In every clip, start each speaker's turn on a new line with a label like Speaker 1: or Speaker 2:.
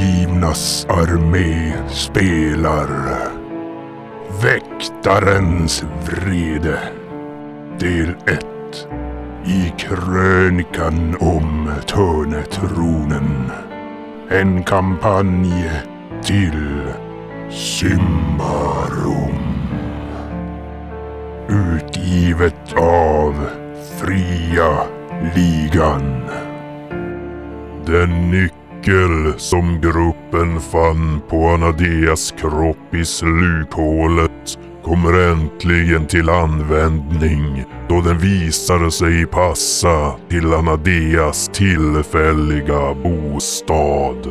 Speaker 1: Djävlarnas armé spelar Väktarens vrede Del 1 I krönikan om Törnetronen En kampanj till Symbarum Utgivet av Fria Ligan
Speaker 2: Den nyckel som gruppen fann på Anadeas kropp i slukhålet kommer äntligen till användning då den visar sig passa till Anadeas tillfälliga bostad.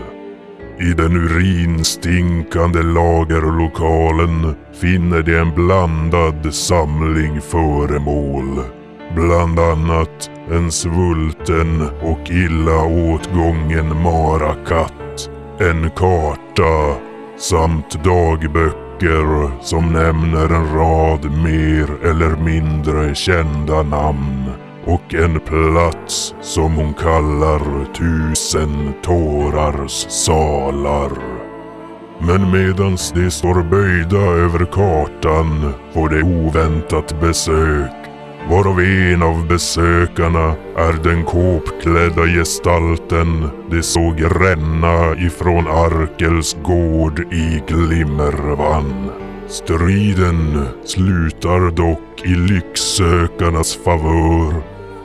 Speaker 2: I den urinstinkande lagerlokalen finner de en blandad samling föremål. Bland annat en svulten och illa åtgången marakatt, en karta samt dagböcker som nämner en rad mer eller mindre kända namn och en plats som hon kallar Tusen tårars salar. Men medans de står böjda över kartan får de oväntat besök varav en av besökarna är den kåpklädda gestalten de såg ränna ifrån Arkels gård i Glimmervan. Striden slutar dock i lycksökarnas favör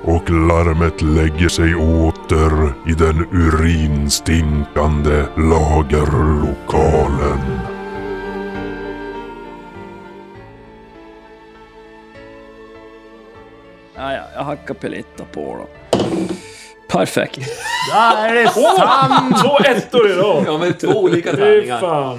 Speaker 2: och larmet lägger sig åter i den urinstinkande lagerlokalen.
Speaker 3: Ja, ja, jag hackar peletta på då. Perfekt.
Speaker 4: Där är det sant!
Speaker 5: Två ettor idag!
Speaker 6: Ja, men två olika
Speaker 5: Fy
Speaker 6: tärningar.
Speaker 5: fan.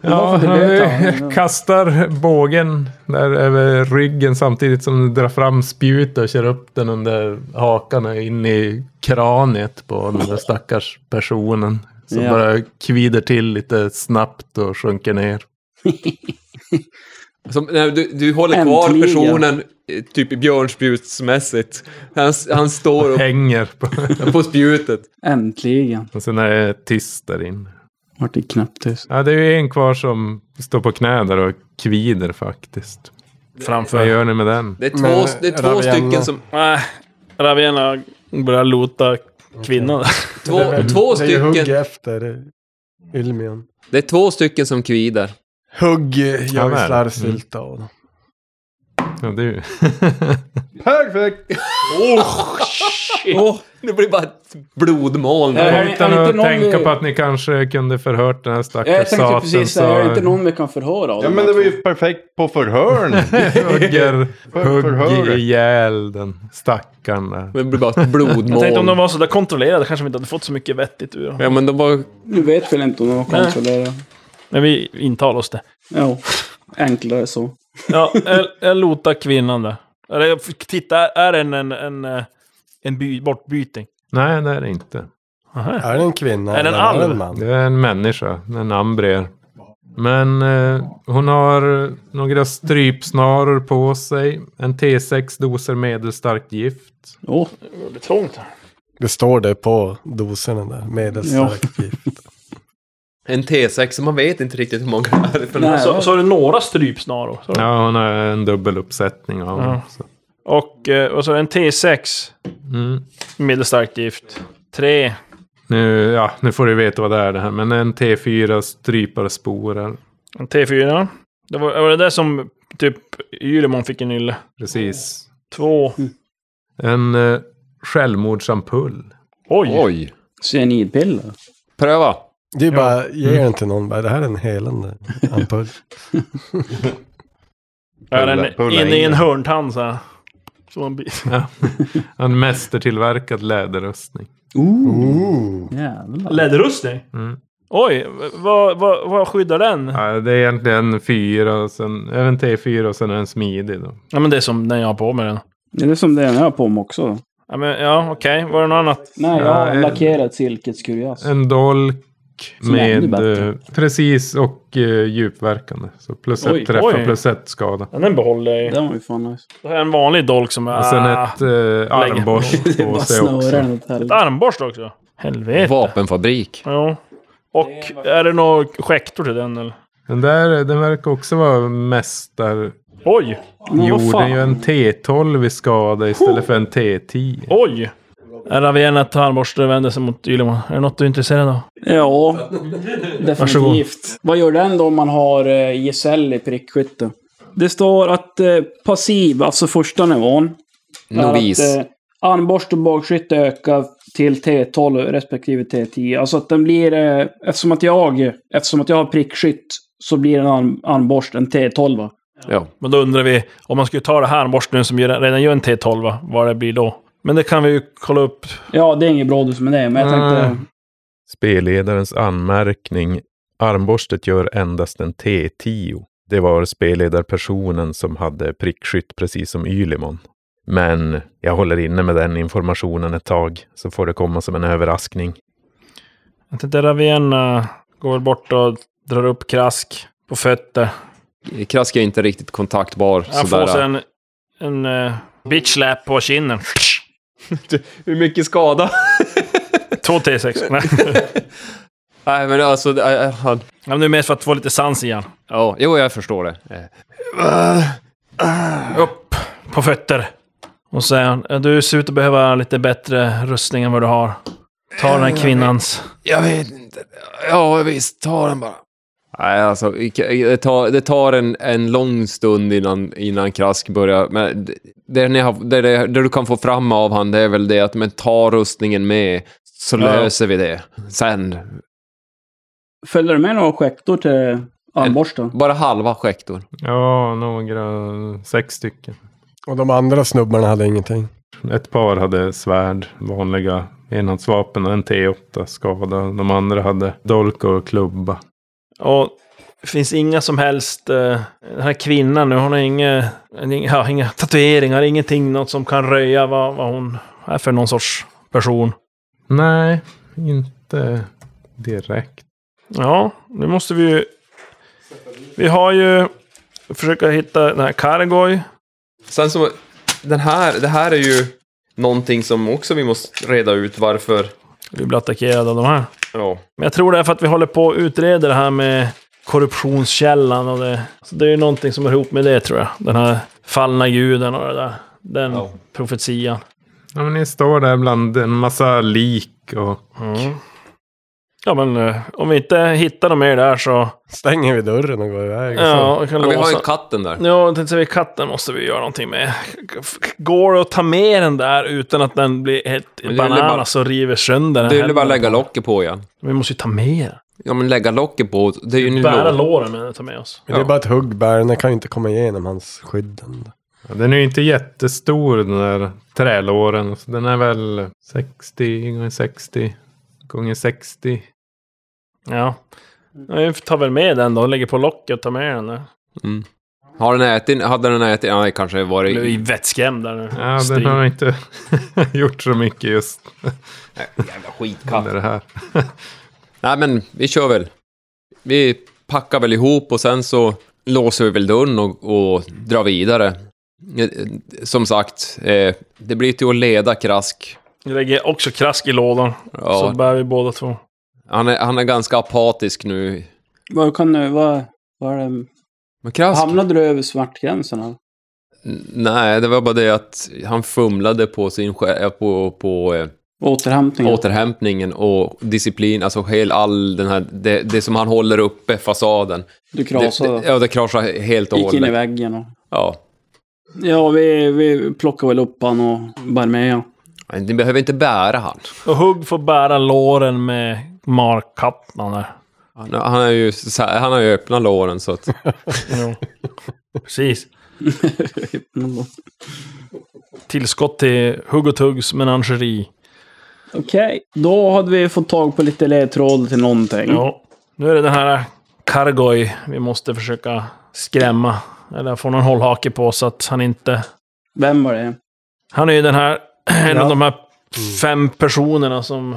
Speaker 7: Ja,
Speaker 4: Varför det vet
Speaker 7: han
Speaker 4: han.
Speaker 7: eh, kastar bågen där över ryggen samtidigt som han drar fram spjutet och kör upp den under hakan och in i kraniet på den där stackars personen. Som
Speaker 3: Ja.
Speaker 7: bara kvider till lite snabbt och sjunker ner.
Speaker 6: Som, nej, du, du håller kvar
Speaker 3: Äntligen.
Speaker 6: personen eh, typ björnspjutsmässigt. Han, han står upp
Speaker 7: Hänger på...
Speaker 6: på spjutet.
Speaker 3: Äntligen.
Speaker 7: Och sen är det tyst där inne.
Speaker 3: Vart det knäpptyst.
Speaker 7: Ja, det är ju en kvar som står på knä där och kvider faktiskt. Vad
Speaker 4: Framför.
Speaker 7: gör ni med den?
Speaker 6: Det är två,
Speaker 4: Men,
Speaker 6: det är två
Speaker 4: Ravienna.
Speaker 6: stycken som...
Speaker 5: Nej, Ravena börjar lota kvinnan.
Speaker 6: Två, två
Speaker 4: Det är ju hugg
Speaker 6: stycken,
Speaker 4: efter Ylmion.
Speaker 6: det är två stycken som kvider.
Speaker 4: Hugg
Speaker 7: Ja,
Speaker 4: gör
Speaker 7: men.
Speaker 4: ju slarvsylta av dem.
Speaker 8: Mm.
Speaker 7: Ja, du.
Speaker 4: Perfekt!
Speaker 6: Åh, det blir bara ett blodmoln.
Speaker 3: Är det-
Speaker 7: Utan
Speaker 3: är det
Speaker 7: att
Speaker 3: inte någon-
Speaker 7: tänka på att ni kanske kunde förhört den här
Speaker 3: Jag
Speaker 7: stackars
Speaker 3: tänkte precis säga, är det inte någon vi kan förhöra av
Speaker 8: Ja
Speaker 3: de
Speaker 8: men det
Speaker 3: här
Speaker 8: var
Speaker 3: två?
Speaker 8: ju perfekt på förhörn.
Speaker 7: hugger,
Speaker 8: För-
Speaker 7: hugg
Speaker 8: förhöret.
Speaker 7: ihjäl den stackaren där.
Speaker 6: Det blir bara ett
Speaker 5: Jag tänkte om de
Speaker 6: blodmoln.
Speaker 5: var sådär kontrollerade kanske vi inte hade fått så mycket vettigt ur dem.
Speaker 6: Ja, men de var...
Speaker 3: Nu vet väl inte om de har kontrollerat.
Speaker 5: Men vi intalar oss det.
Speaker 3: Ja, enklare så.
Speaker 5: Ja, jag, jag lotar kvinnan där. Eller jag fick titta, är det en, en, en, eh, en by, bortbyting?
Speaker 7: Nej, det är det inte.
Speaker 5: Aha.
Speaker 4: Är det en kvinna
Speaker 5: Är det en
Speaker 4: eller
Speaker 5: alv?
Speaker 4: en man?
Speaker 7: Det är en människa, en ambrier. Men eh, hon har några strypsnaror på sig, en T6 doser medelstarkt gift.
Speaker 3: Åh,
Speaker 5: Det är trångt här.
Speaker 4: Det står det på doserna där. Medelstarkt gift.
Speaker 6: En T6, så man vet inte riktigt hur många det är. För den
Speaker 3: nej.
Speaker 6: här.
Speaker 8: alltså-
Speaker 5: Så, så är det några strypsnaror. Så.
Speaker 7: Ja, hon har en dubbel uppsättning av
Speaker 5: Ja.
Speaker 7: dem. så.
Speaker 5: Och, eh, och så en T6,
Speaker 7: Mm.
Speaker 5: medelstarkt gift. Tre.
Speaker 7: Nu, ja, nu får du veta vad det är det här. Men en T4 strypar sporer.
Speaker 5: En T4. Det var, var det där som typ Ylemon fick en ylle.
Speaker 7: Precis.
Speaker 5: Två.
Speaker 7: En eh, självmordsampull.
Speaker 5: Oj!
Speaker 6: Oj.
Speaker 3: cyanidpiller.
Speaker 6: Pröva.
Speaker 4: Det är ju bara, ge den till någon. Bara, det här är en helande ampull.
Speaker 5: är
Speaker 8: Pulla-
Speaker 5: den
Speaker 8: pulla
Speaker 5: inne i
Speaker 8: in
Speaker 5: en
Speaker 8: den.
Speaker 5: hörntand så här. Så en bit.
Speaker 7: Ja. en mästertillverkad läderrustning.
Speaker 3: Ooh,
Speaker 4: Ooh.
Speaker 3: jävlar.
Speaker 5: Läderrustning?
Speaker 7: Mm.
Speaker 5: Oj, vad, vad, vad skyddar den? Ja.
Speaker 7: Ja, det är egentligen fyra, och sen, är det en T4 och sen är den smidig. Då.
Speaker 5: men det är som den jag har på mig den.
Speaker 3: Är det som den jag har på mig också?
Speaker 5: Ja, men, ja okej. Var det något annat?
Speaker 3: Nej, jag
Speaker 7: Ja,
Speaker 3: har
Speaker 7: en-
Speaker 3: lackerat silkeskuriosa.
Speaker 7: En dolk
Speaker 3: Som är ännu
Speaker 7: med...
Speaker 3: bättre.
Speaker 7: eh, Precis, och eh, djupverkande. Så plus ett
Speaker 3: Oj,
Speaker 7: träff
Speaker 5: oj.
Speaker 7: och plus ett skada.
Speaker 5: Ja, Den behåller jag ju.
Speaker 3: Den var ju fan nice.
Speaker 5: Det här är en vanlig dolk som är...
Speaker 7: Och sen
Speaker 5: Ah,
Speaker 7: ett eh, armborst
Speaker 3: Det är
Speaker 7: på
Speaker 3: bara
Speaker 7: sig också.
Speaker 3: snören åt
Speaker 5: ett
Speaker 3: helvete.
Speaker 5: armborst också. Helvete.
Speaker 6: Vapenfabrik.
Speaker 5: Ja. Och är det några skäktor till den eller?
Speaker 7: Den där, den verkar också vara mästar.
Speaker 5: Oj! Vad
Speaker 7: Gjorde
Speaker 5: fan?
Speaker 7: ju en T12 i skada istället för en T10.
Speaker 5: Oj! Ravena tandborste vänder sig mot Ylemon. Är det något du är intresserad av?
Speaker 3: Ja,
Speaker 5: Varsågod.
Speaker 3: definitivt. Vad gör den då om man har eh, ISL i prickskytte? Det står att eh, passiv, alltså första nivån, är
Speaker 6: Novis.
Speaker 3: att eh, armborst och bagskytte ökar till T12 respektive T10. Alltså att den blir, eh, eftersom att jag, eftersom att jag har prickskytt, så blir en arm, armborst en T12.
Speaker 6: Ja.
Speaker 5: Men då undrar vi, om man skulle ta det här borsten som gör- redan gör en T12, va? vad det blir då? Men det kan vi ju kolla upp.
Speaker 3: Ja, det är inget bra du som är det, men jag tänkte...
Speaker 7: Mm. Spelledarens anmärkning. Armborstet gör endast en T10. Det var spelledarpersonen som hade prickskytt precis som Ylimon. Men jag håller inne med den informationen ett tag, så får det komma som en överraskning.
Speaker 5: Jag tänkte Ravena går bort och drar upp krask på fötter.
Speaker 6: Krask är inte riktigt kontaktbar.
Speaker 5: Han får sig
Speaker 6: sådär.
Speaker 5: en, en uh, bitch slap på kinden.
Speaker 9: Hur mycket skada?
Speaker 5: Två T6. Nej.
Speaker 6: Nej, men alltså... det- eh, Han...
Speaker 5: Ja, men det är mest för att få lite sans igen.
Speaker 6: Ja, jo, jag förstår det. Eh,
Speaker 5: Upp på fötter. Och säger han, "Ja, du ser ut att behöva lite bättre rustning än vad du har. Ta den här kvinnans.
Speaker 6: Jag vet inte. Ja, visst. Ta den bara. Nej, alltså, det tar, det tar en, en lång stund innan, innan Krask börjar. Men det, det, ni har, det, det, det du kan få fram av han, det är väl det att men ta rustningen med, så löser vi det. Sen,
Speaker 3: Följer du med några skäktor till armborsten?
Speaker 6: bara halva skäktor.
Speaker 7: Ja, några sex stycken.
Speaker 4: Och de andra snubbarna hade ingenting.
Speaker 7: Ett par hade svärd, vanliga enhandsvapen och en T8 skada. De andra hade dolk och klubba.
Speaker 5: Och det finns inga som helst... eh, den här kvinnan nu, hon har inga, inga, ja, inga tatueringar, ingenting, något som kan röja vad, vad hon är för någon sorts person.
Speaker 7: Nej, inte direkt.
Speaker 5: Ja, nu måste vi ju... Vi har ju... Försöka hitta den här Kargoy.
Speaker 9: Sen så, den här, det här är ju någonting som också vi måste reda ut varför.
Speaker 5: Vi blir attackerade av de här.
Speaker 9: Ja.
Speaker 5: Men jag tror det är för att vi håller på och utreder det här med korruptionskällan och det. Så det är ju någonting som hör ihop med det tror jag. Den här fallna guden och det där. Den
Speaker 9: Ja.
Speaker 5: profetian.
Speaker 7: Ja, men ni står där bland en massa lik och
Speaker 5: Mm. Ja men eh, om vi inte hittar dem mer där så...
Speaker 4: Stänger vi dörren och går iväg.
Speaker 5: Ja, vi kan
Speaker 6: Ja, vi har
Speaker 5: låsa.
Speaker 6: ju katten där.
Speaker 5: Ja, jag tänkte säga katten måste vi göra någonting med. Går det att ta med den där utan att den blir helt
Speaker 6: Men det är väl bara-
Speaker 5: bananas och river sönder den?
Speaker 6: Det är ju bara
Speaker 5: händerna?
Speaker 6: att lägga locket på igen.
Speaker 5: Vi måste ju ta med den.
Speaker 6: Ja, men lägga locket på. Det är ju en
Speaker 5: Bära
Speaker 6: låda.
Speaker 5: låren men ta med oss.
Speaker 4: Men det är bara ett huggbär, den kan ju inte komma igenom hans skydd. ändå.
Speaker 7: Ja, Den är ju inte jättestor den där trälåren. Så den är väl 60 gånger 60 gånger 60.
Speaker 5: Ja. Ja, Vi tar väl med den då, lägger på locket och tar med den. där.
Speaker 6: Har den ätit? Hade den ätit? Ja, det kanske var
Speaker 5: Jag
Speaker 6: i...
Speaker 5: blev vettskrämd där nu.
Speaker 7: Ja,
Speaker 5: Strid.
Speaker 7: den har inte gjort så mycket just
Speaker 6: Jävla skitkatt.
Speaker 7: under det här.
Speaker 6: Nej, men vi kör väl. Vi packar väl ihop och sen så låser vi väl dörren och, och drar vidare. Eh, Som sagt, eh, det blir till att leda Krask.
Speaker 5: Jag lägger också krask i lådan. Så
Speaker 6: Ja,
Speaker 5: bär vi båda två.
Speaker 6: han, är, han är ganska apatisk nu.
Speaker 3: Vad kan du, vad, vad är det?
Speaker 6: Men Krask?
Speaker 3: Hamnade du över smärtgränsen? eller?
Speaker 6: N- Nej, det var bara det att han fumlade på sin skä- eh, på, på eh,
Speaker 3: Återhämtningen?
Speaker 6: återhämtningen och disciplin, alltså hel all den här, det, det som han håller uppe, fasaden.
Speaker 3: du
Speaker 6: Det,
Speaker 3: krasade?
Speaker 6: det, ja, det kraschar helt och
Speaker 3: gick in i
Speaker 6: hållet.
Speaker 3: väggen och...
Speaker 6: Ja.
Speaker 3: Ja, vi, vi plockade väl upp han och bär med han.
Speaker 6: Men Ni behöver inte bära han.
Speaker 5: Och Hugg får bära låren med markkappan där.
Speaker 6: Han, han, är ju, så här- han har ju öppna låren så att...
Speaker 5: Jo. Precis. Tillskott till Hugg och Tuggs menageri.
Speaker 3: Okej, då hade vi fått tag på lite ledtråd till någonting.
Speaker 6: Mm.
Speaker 5: Ja. Nu är det den här Kargoy vi måste försöka skrämma. Eller få någon hållhake på så att han inte...
Speaker 3: Vem var det?
Speaker 5: Han är ju den här... En
Speaker 4: Ja.
Speaker 5: av de här
Speaker 6: Mm.
Speaker 4: Mm.
Speaker 5: fem personerna som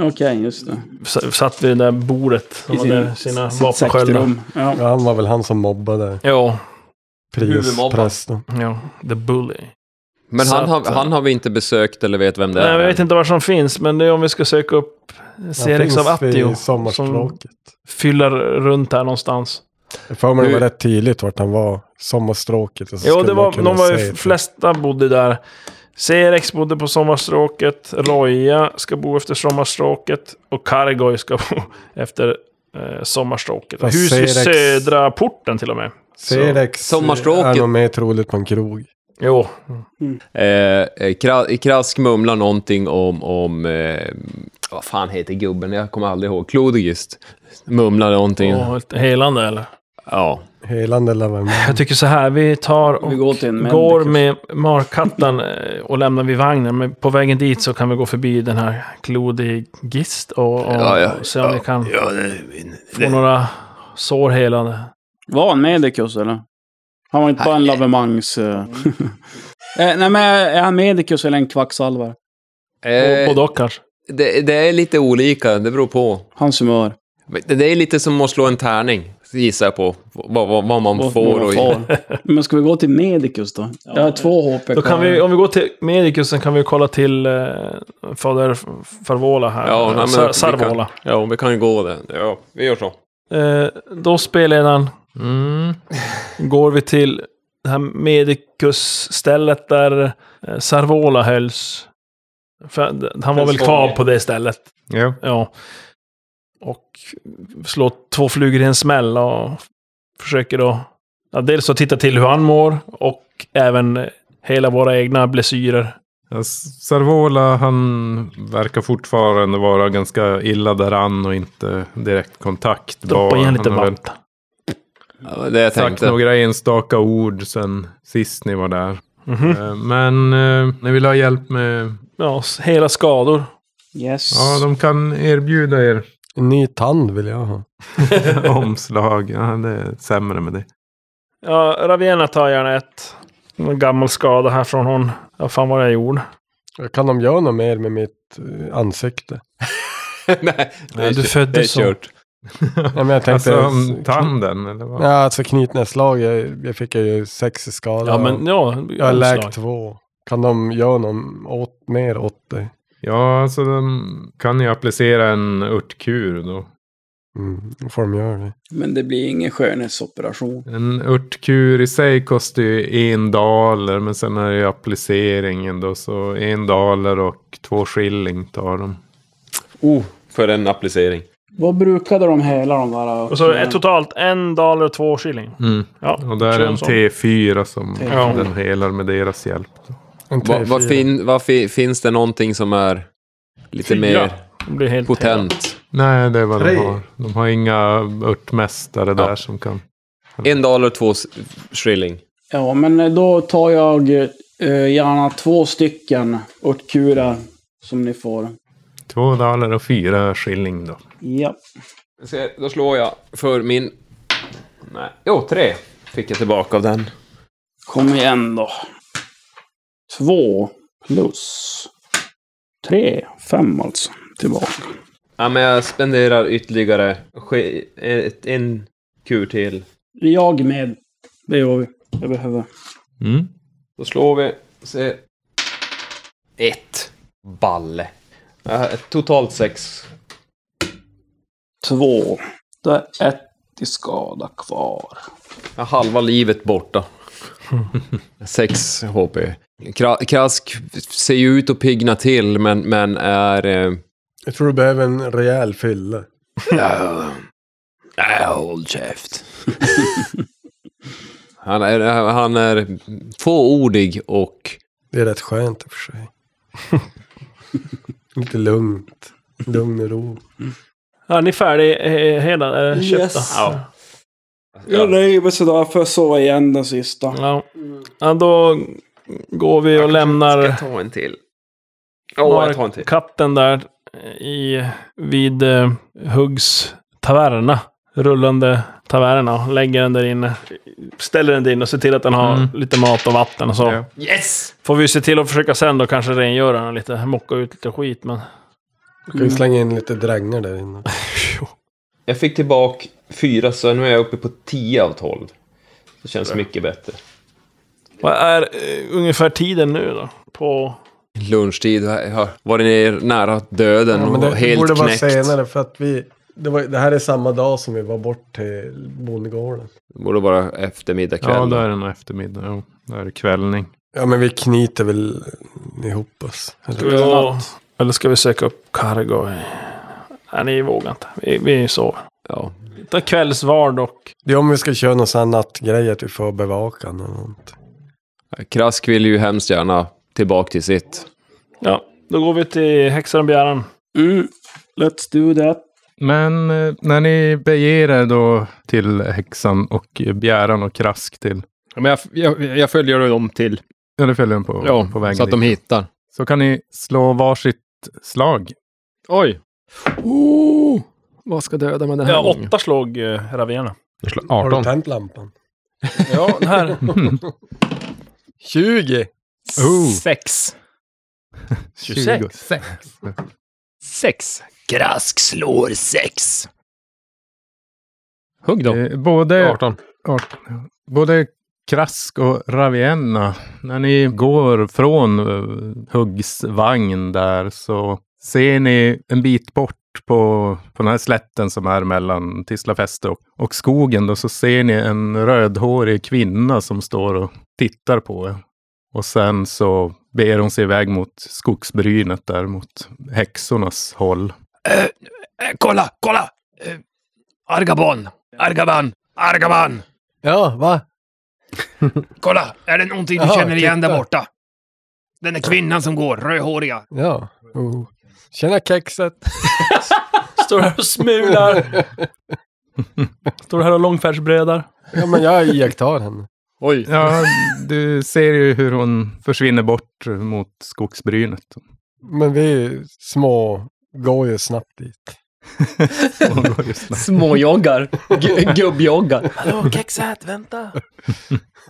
Speaker 3: Okej, just det.
Speaker 5: s- satt vid det där bordet. Som
Speaker 3: I sin-
Speaker 5: hade sina
Speaker 3: sitt
Speaker 5: vapensköldar.
Speaker 3: sektrum. Ja.
Speaker 4: Ja, han var väl han som mobbade
Speaker 5: Ja,
Speaker 4: prisprästen.
Speaker 5: ja. The Bully.
Speaker 6: Men
Speaker 5: Så
Speaker 6: han har,
Speaker 5: att, eh,
Speaker 6: han har vi inte besökt eller vet vem det
Speaker 5: Nej,
Speaker 6: är.
Speaker 5: jag vet inte var som finns, men det är om vi ska söka upp Serix av liksom Attio. Som
Speaker 4: Sommarstråket.
Speaker 5: fyller runt här någonstans.
Speaker 4: Jag får mig det
Speaker 6: Du-
Speaker 4: var rätt tydligt vart han var. Sommarstråket. och så
Speaker 5: Jo,
Speaker 4: skulle
Speaker 5: det
Speaker 4: man
Speaker 5: var,
Speaker 4: kunna
Speaker 5: de var
Speaker 4: se
Speaker 5: ju,
Speaker 4: det.
Speaker 5: flesta bodde där. Serex bodde på sommarstråket, Roja ska bo efter sommarstråket och Kargoy ska bo efter eh, sommarstråket.
Speaker 4: Fast
Speaker 5: Hus vid
Speaker 4: Serex-
Speaker 5: södra porten till och med.
Speaker 4: Serex
Speaker 6: Sommarstråket.
Speaker 4: är nog mer troligt på en krog.
Speaker 5: Jo,
Speaker 6: Eh, eh, Kra- Krask mumlar någonting om, om eh, vad fan heter gubben? Jag kommer aldrig ihåg. Klodogist mumlar någonting.
Speaker 5: och ett helande eller?
Speaker 6: Ja.
Speaker 4: Helande eller vad
Speaker 5: Jag tycker så här, vi tar och
Speaker 3: Vi går till en medic.
Speaker 5: går med markhattan eh, och lämnar vid vagnen. Men på vägen dit så kan vi gå förbi den här Clodigist och, och,
Speaker 6: Ja, ja,
Speaker 5: och se om vi kan
Speaker 6: ja det,
Speaker 5: få några sår helande.
Speaker 3: Var han medicus eller? Han var inte bara en lavemangs... eh, eh, nej men är han medicus eller en kvacksalvare?
Speaker 5: Eh,
Speaker 6: eh,
Speaker 5: Både och kanske.
Speaker 6: det, det är lite olika, det beror på.
Speaker 3: Hans humör.
Speaker 6: Men Det det är lite som att slå en tärning, gissar jag på. Vad, vad, vad man
Speaker 3: Vad-
Speaker 6: får
Speaker 3: vad
Speaker 6: och...
Speaker 3: man får. Men ska vi gå till medicus då? Jag har två HP
Speaker 5: Då kan
Speaker 3: kvar.
Speaker 5: vi, om vi går till Medicusen kan vi kolla till eh, Fader Farvola här.
Speaker 6: Ja, nej, men
Speaker 5: Sar-
Speaker 6: vi
Speaker 5: Sarvola.
Speaker 6: Ja, vi kan ju gå där. Ja, vi gör så.
Speaker 5: Eh, då spelledaren
Speaker 7: Mm.
Speaker 5: går vi till det här Medicus-stället där eh, Sarvola hölls. För, han var väl kvar på det stället.
Speaker 7: Ja.
Speaker 5: Ja. Och slå två flugor i en smäll och försöker då ja, dels att titta till hur han mår och även eh, hela våra egna blessyrer.
Speaker 7: Ja, S- Sarvola, han verkar fortfarande vara ganska illa däran och inte direkt kontaktbar.
Speaker 5: Droppa igen
Speaker 7: Han
Speaker 5: lite
Speaker 7: har väl
Speaker 5: vatten.
Speaker 6: Ja, det jag
Speaker 7: Sagt
Speaker 6: tänkte.
Speaker 7: några enstaka ord sen sist ni var där.
Speaker 5: Mhm.
Speaker 7: Eh, Men eh, ni vill ha hjälp med...
Speaker 5: Ja, s- hela skador.
Speaker 3: Yes.
Speaker 7: Ja, de kan erbjuda er
Speaker 4: En ny tand vill jag ha.
Speaker 7: omslag. Ja, det är sämre med det.
Speaker 5: Ja, Ravena tar gärna ett. En gammal skada här från hon. Ja, fan vad jag gjorde.
Speaker 4: Kan de göra något mer med mitt eh, ansikte?
Speaker 6: Nej, det
Speaker 5: Ja,
Speaker 6: är
Speaker 5: du
Speaker 6: kö-
Speaker 5: föddes
Speaker 6: det är
Speaker 5: så.
Speaker 6: kört.
Speaker 4: Ja, men jag tänkte...
Speaker 7: Alltså om tanden eller vad?
Speaker 4: Ja, alltså knytnävsslag, jag, jag fick ju sex i skala.
Speaker 5: Ja, men ja.
Speaker 4: jag har
Speaker 5: omslag.
Speaker 4: läkt två. Kan de göra något åt, mer åt det?
Speaker 7: Ja, alltså de kan ju applicera en örtkur då.
Speaker 4: Mm, då får de göra det.
Speaker 3: Men det blir ingen skönhetsoperation.
Speaker 7: En örtkur i sig kostar ju en daler, men sen är det ju appliceringen då, så en daler och två skilling tar de.
Speaker 6: Oh, för en applicering.
Speaker 3: Vad brukade de hela de där?
Speaker 5: Och så är
Speaker 6: Mm.
Speaker 5: totalt en daler och två shilling. Ja,
Speaker 7: Och där är
Speaker 5: kör
Speaker 7: en
Speaker 5: en sån.
Speaker 7: T4 som
Speaker 3: T4.
Speaker 7: den helar med deras hjälp. Då.
Speaker 4: En
Speaker 6: Va, vad
Speaker 4: T4.
Speaker 6: fin, vad fi, finns det någonting som är lite mer
Speaker 5: Det blir helt
Speaker 6: potent?
Speaker 7: Nej, det är vad
Speaker 4: Tre.
Speaker 7: de har. De har inga örtmästare där som kan...
Speaker 6: En dollar och två s- shilling.
Speaker 3: Ja, men då tar jag eh, gärna två stycken örtkurar som ni får.
Speaker 7: Två daler och fyra skilling då.
Speaker 3: Ja.
Speaker 6: Se, då slår jag för min... Nej. Jo, tre fick jag tillbaka av den.
Speaker 3: Kom igen då. Två plus tre. Fem alltså. Tillbaka.
Speaker 6: Ja, men jag spenderar ytterligare ske- ett- en kur till.
Speaker 3: Jag med. Det gör vi. Jag behöver.
Speaker 7: Mm.
Speaker 6: Då slår vi. Se. Ett. Balle. Ja, totalt sex.
Speaker 3: Två. Då är ett i skada kvar.
Speaker 6: Ja, halva livet borta. Sex HP. Kra- Krask ser ju ut att pigna till, men, men är... Eh,
Speaker 4: Jag tror du behöver en rejäl fylle.
Speaker 6: äh, håll käft. han, är, han är fåordig och...
Speaker 4: Det är rätt skönt i och för sig. Lite lugnt. Lugn och ro.
Speaker 5: Ja, ni är färdig eh, hela? Är det köpta?
Speaker 3: Yes. Jag nöjer mig sådär för att sova igen den sista.
Speaker 5: Ja. ja, då går vi och lämnar
Speaker 6: ta en till.
Speaker 5: katten där eh, i, vid eh, Huggs taverna. Rullande taverna. Lägger den där inne. Ställer den där inne och ser till att den har
Speaker 7: Mm.
Speaker 5: lite mat och vatten och så.
Speaker 7: Ja.
Speaker 6: Yes!
Speaker 5: Får vi se till att försöka sen då kanske rengöra den lite. Mocka ut lite skit men...
Speaker 4: Du kan ju slänga in lite drängar där inne.
Speaker 6: Jag fick tillbaka fyra, så nu är jag uppe på tio av tolv. Det känns mycket bättre.
Speaker 5: Vad är eh, ungefär tiden nu då? På...
Speaker 6: Lunchtid, jag har varit ner nära döden
Speaker 4: Ja, men
Speaker 6: och
Speaker 4: det borde
Speaker 6: helt
Speaker 4: vara
Speaker 6: knäckt.
Speaker 4: senare för att vi... Det, var, det här är samma dag som vi var bort till bondgården.
Speaker 6: Det borde vara eftermiddag, kväll.
Speaker 7: Ja, då är det nog eftermiddag. Jo, då är det kvällning.
Speaker 4: Ja, men vi knyter väl ihop oss.
Speaker 5: Ska vi gå... Eller ska vi söka upp Cargo? Nej, ni vågar inte. Vi, vi sover.
Speaker 6: Ja.
Speaker 5: Ta kvällsvard och...
Speaker 4: Det är om vi ska köra någon sån här nattgrej att vi får bevakan eller något.
Speaker 6: Krask vill ju hemskt gärna tillbaka till sitt.
Speaker 5: Ja, då går vi till häxan Bjäran.
Speaker 3: Mm, let's do that.
Speaker 7: Men eh, när ni beger er då till häxan och bjäran och krask till,
Speaker 10: Ja, Men jag, jag, jag följer dem till...
Speaker 7: eller följer den på, på vägen
Speaker 10: så att de
Speaker 7: dit.
Speaker 10: hittar.
Speaker 7: så kan ni slå varsitt slag.
Speaker 10: Oj! Oh, vad ska döda med den här
Speaker 5: Ja,
Speaker 10: gången?
Speaker 5: åtta slog eh, Ravena.
Speaker 7: Jag slår
Speaker 4: Har du
Speaker 7: 18.
Speaker 4: tänt lampan?
Speaker 5: Ja, den här.
Speaker 4: 20!
Speaker 7: Oh.
Speaker 10: Sex.
Speaker 5: 26.
Speaker 10: Sex. Sex. Krask slår sex. Hugg dem.
Speaker 7: Eh, Både
Speaker 10: 18.
Speaker 7: Art- Både Krask och Ravienna, när ni går från eh, Huggs vagn där så ser ni en bit bort på, på den här slätten som är mellan Tislafäste och, och skogen. Då, så ser ni en rödhårig kvinna som står och tittar på er. Och sen så ber hon sig iväg mot skogsbrynet där mot häxornas håll.
Speaker 10: Eh, eh, kolla, kolla! Eh, Argabon! Argaban! Argaban!
Speaker 4: Ja, va?
Speaker 10: Kolla, är det någonting du
Speaker 4: Jaha,
Speaker 10: känner igen där
Speaker 4: titta.
Speaker 10: borta? Den där kvinnan som går, rödhåriga.
Speaker 4: Ja. Oh. Tjena kexet!
Speaker 5: Står här och smular. Står här och långfärdsbrödar.
Speaker 4: Ja, men jag iakttar henne.
Speaker 10: Oj.
Speaker 7: Ja, du ser ju hur hon försvinner bort mot skogsbrynet.
Speaker 4: Men vi små går ju snabbt dit.
Speaker 7: Hon går just nu.
Speaker 10: Småjoggar. Gubbjoggar.
Speaker 5: Hallå, kexet, vänta.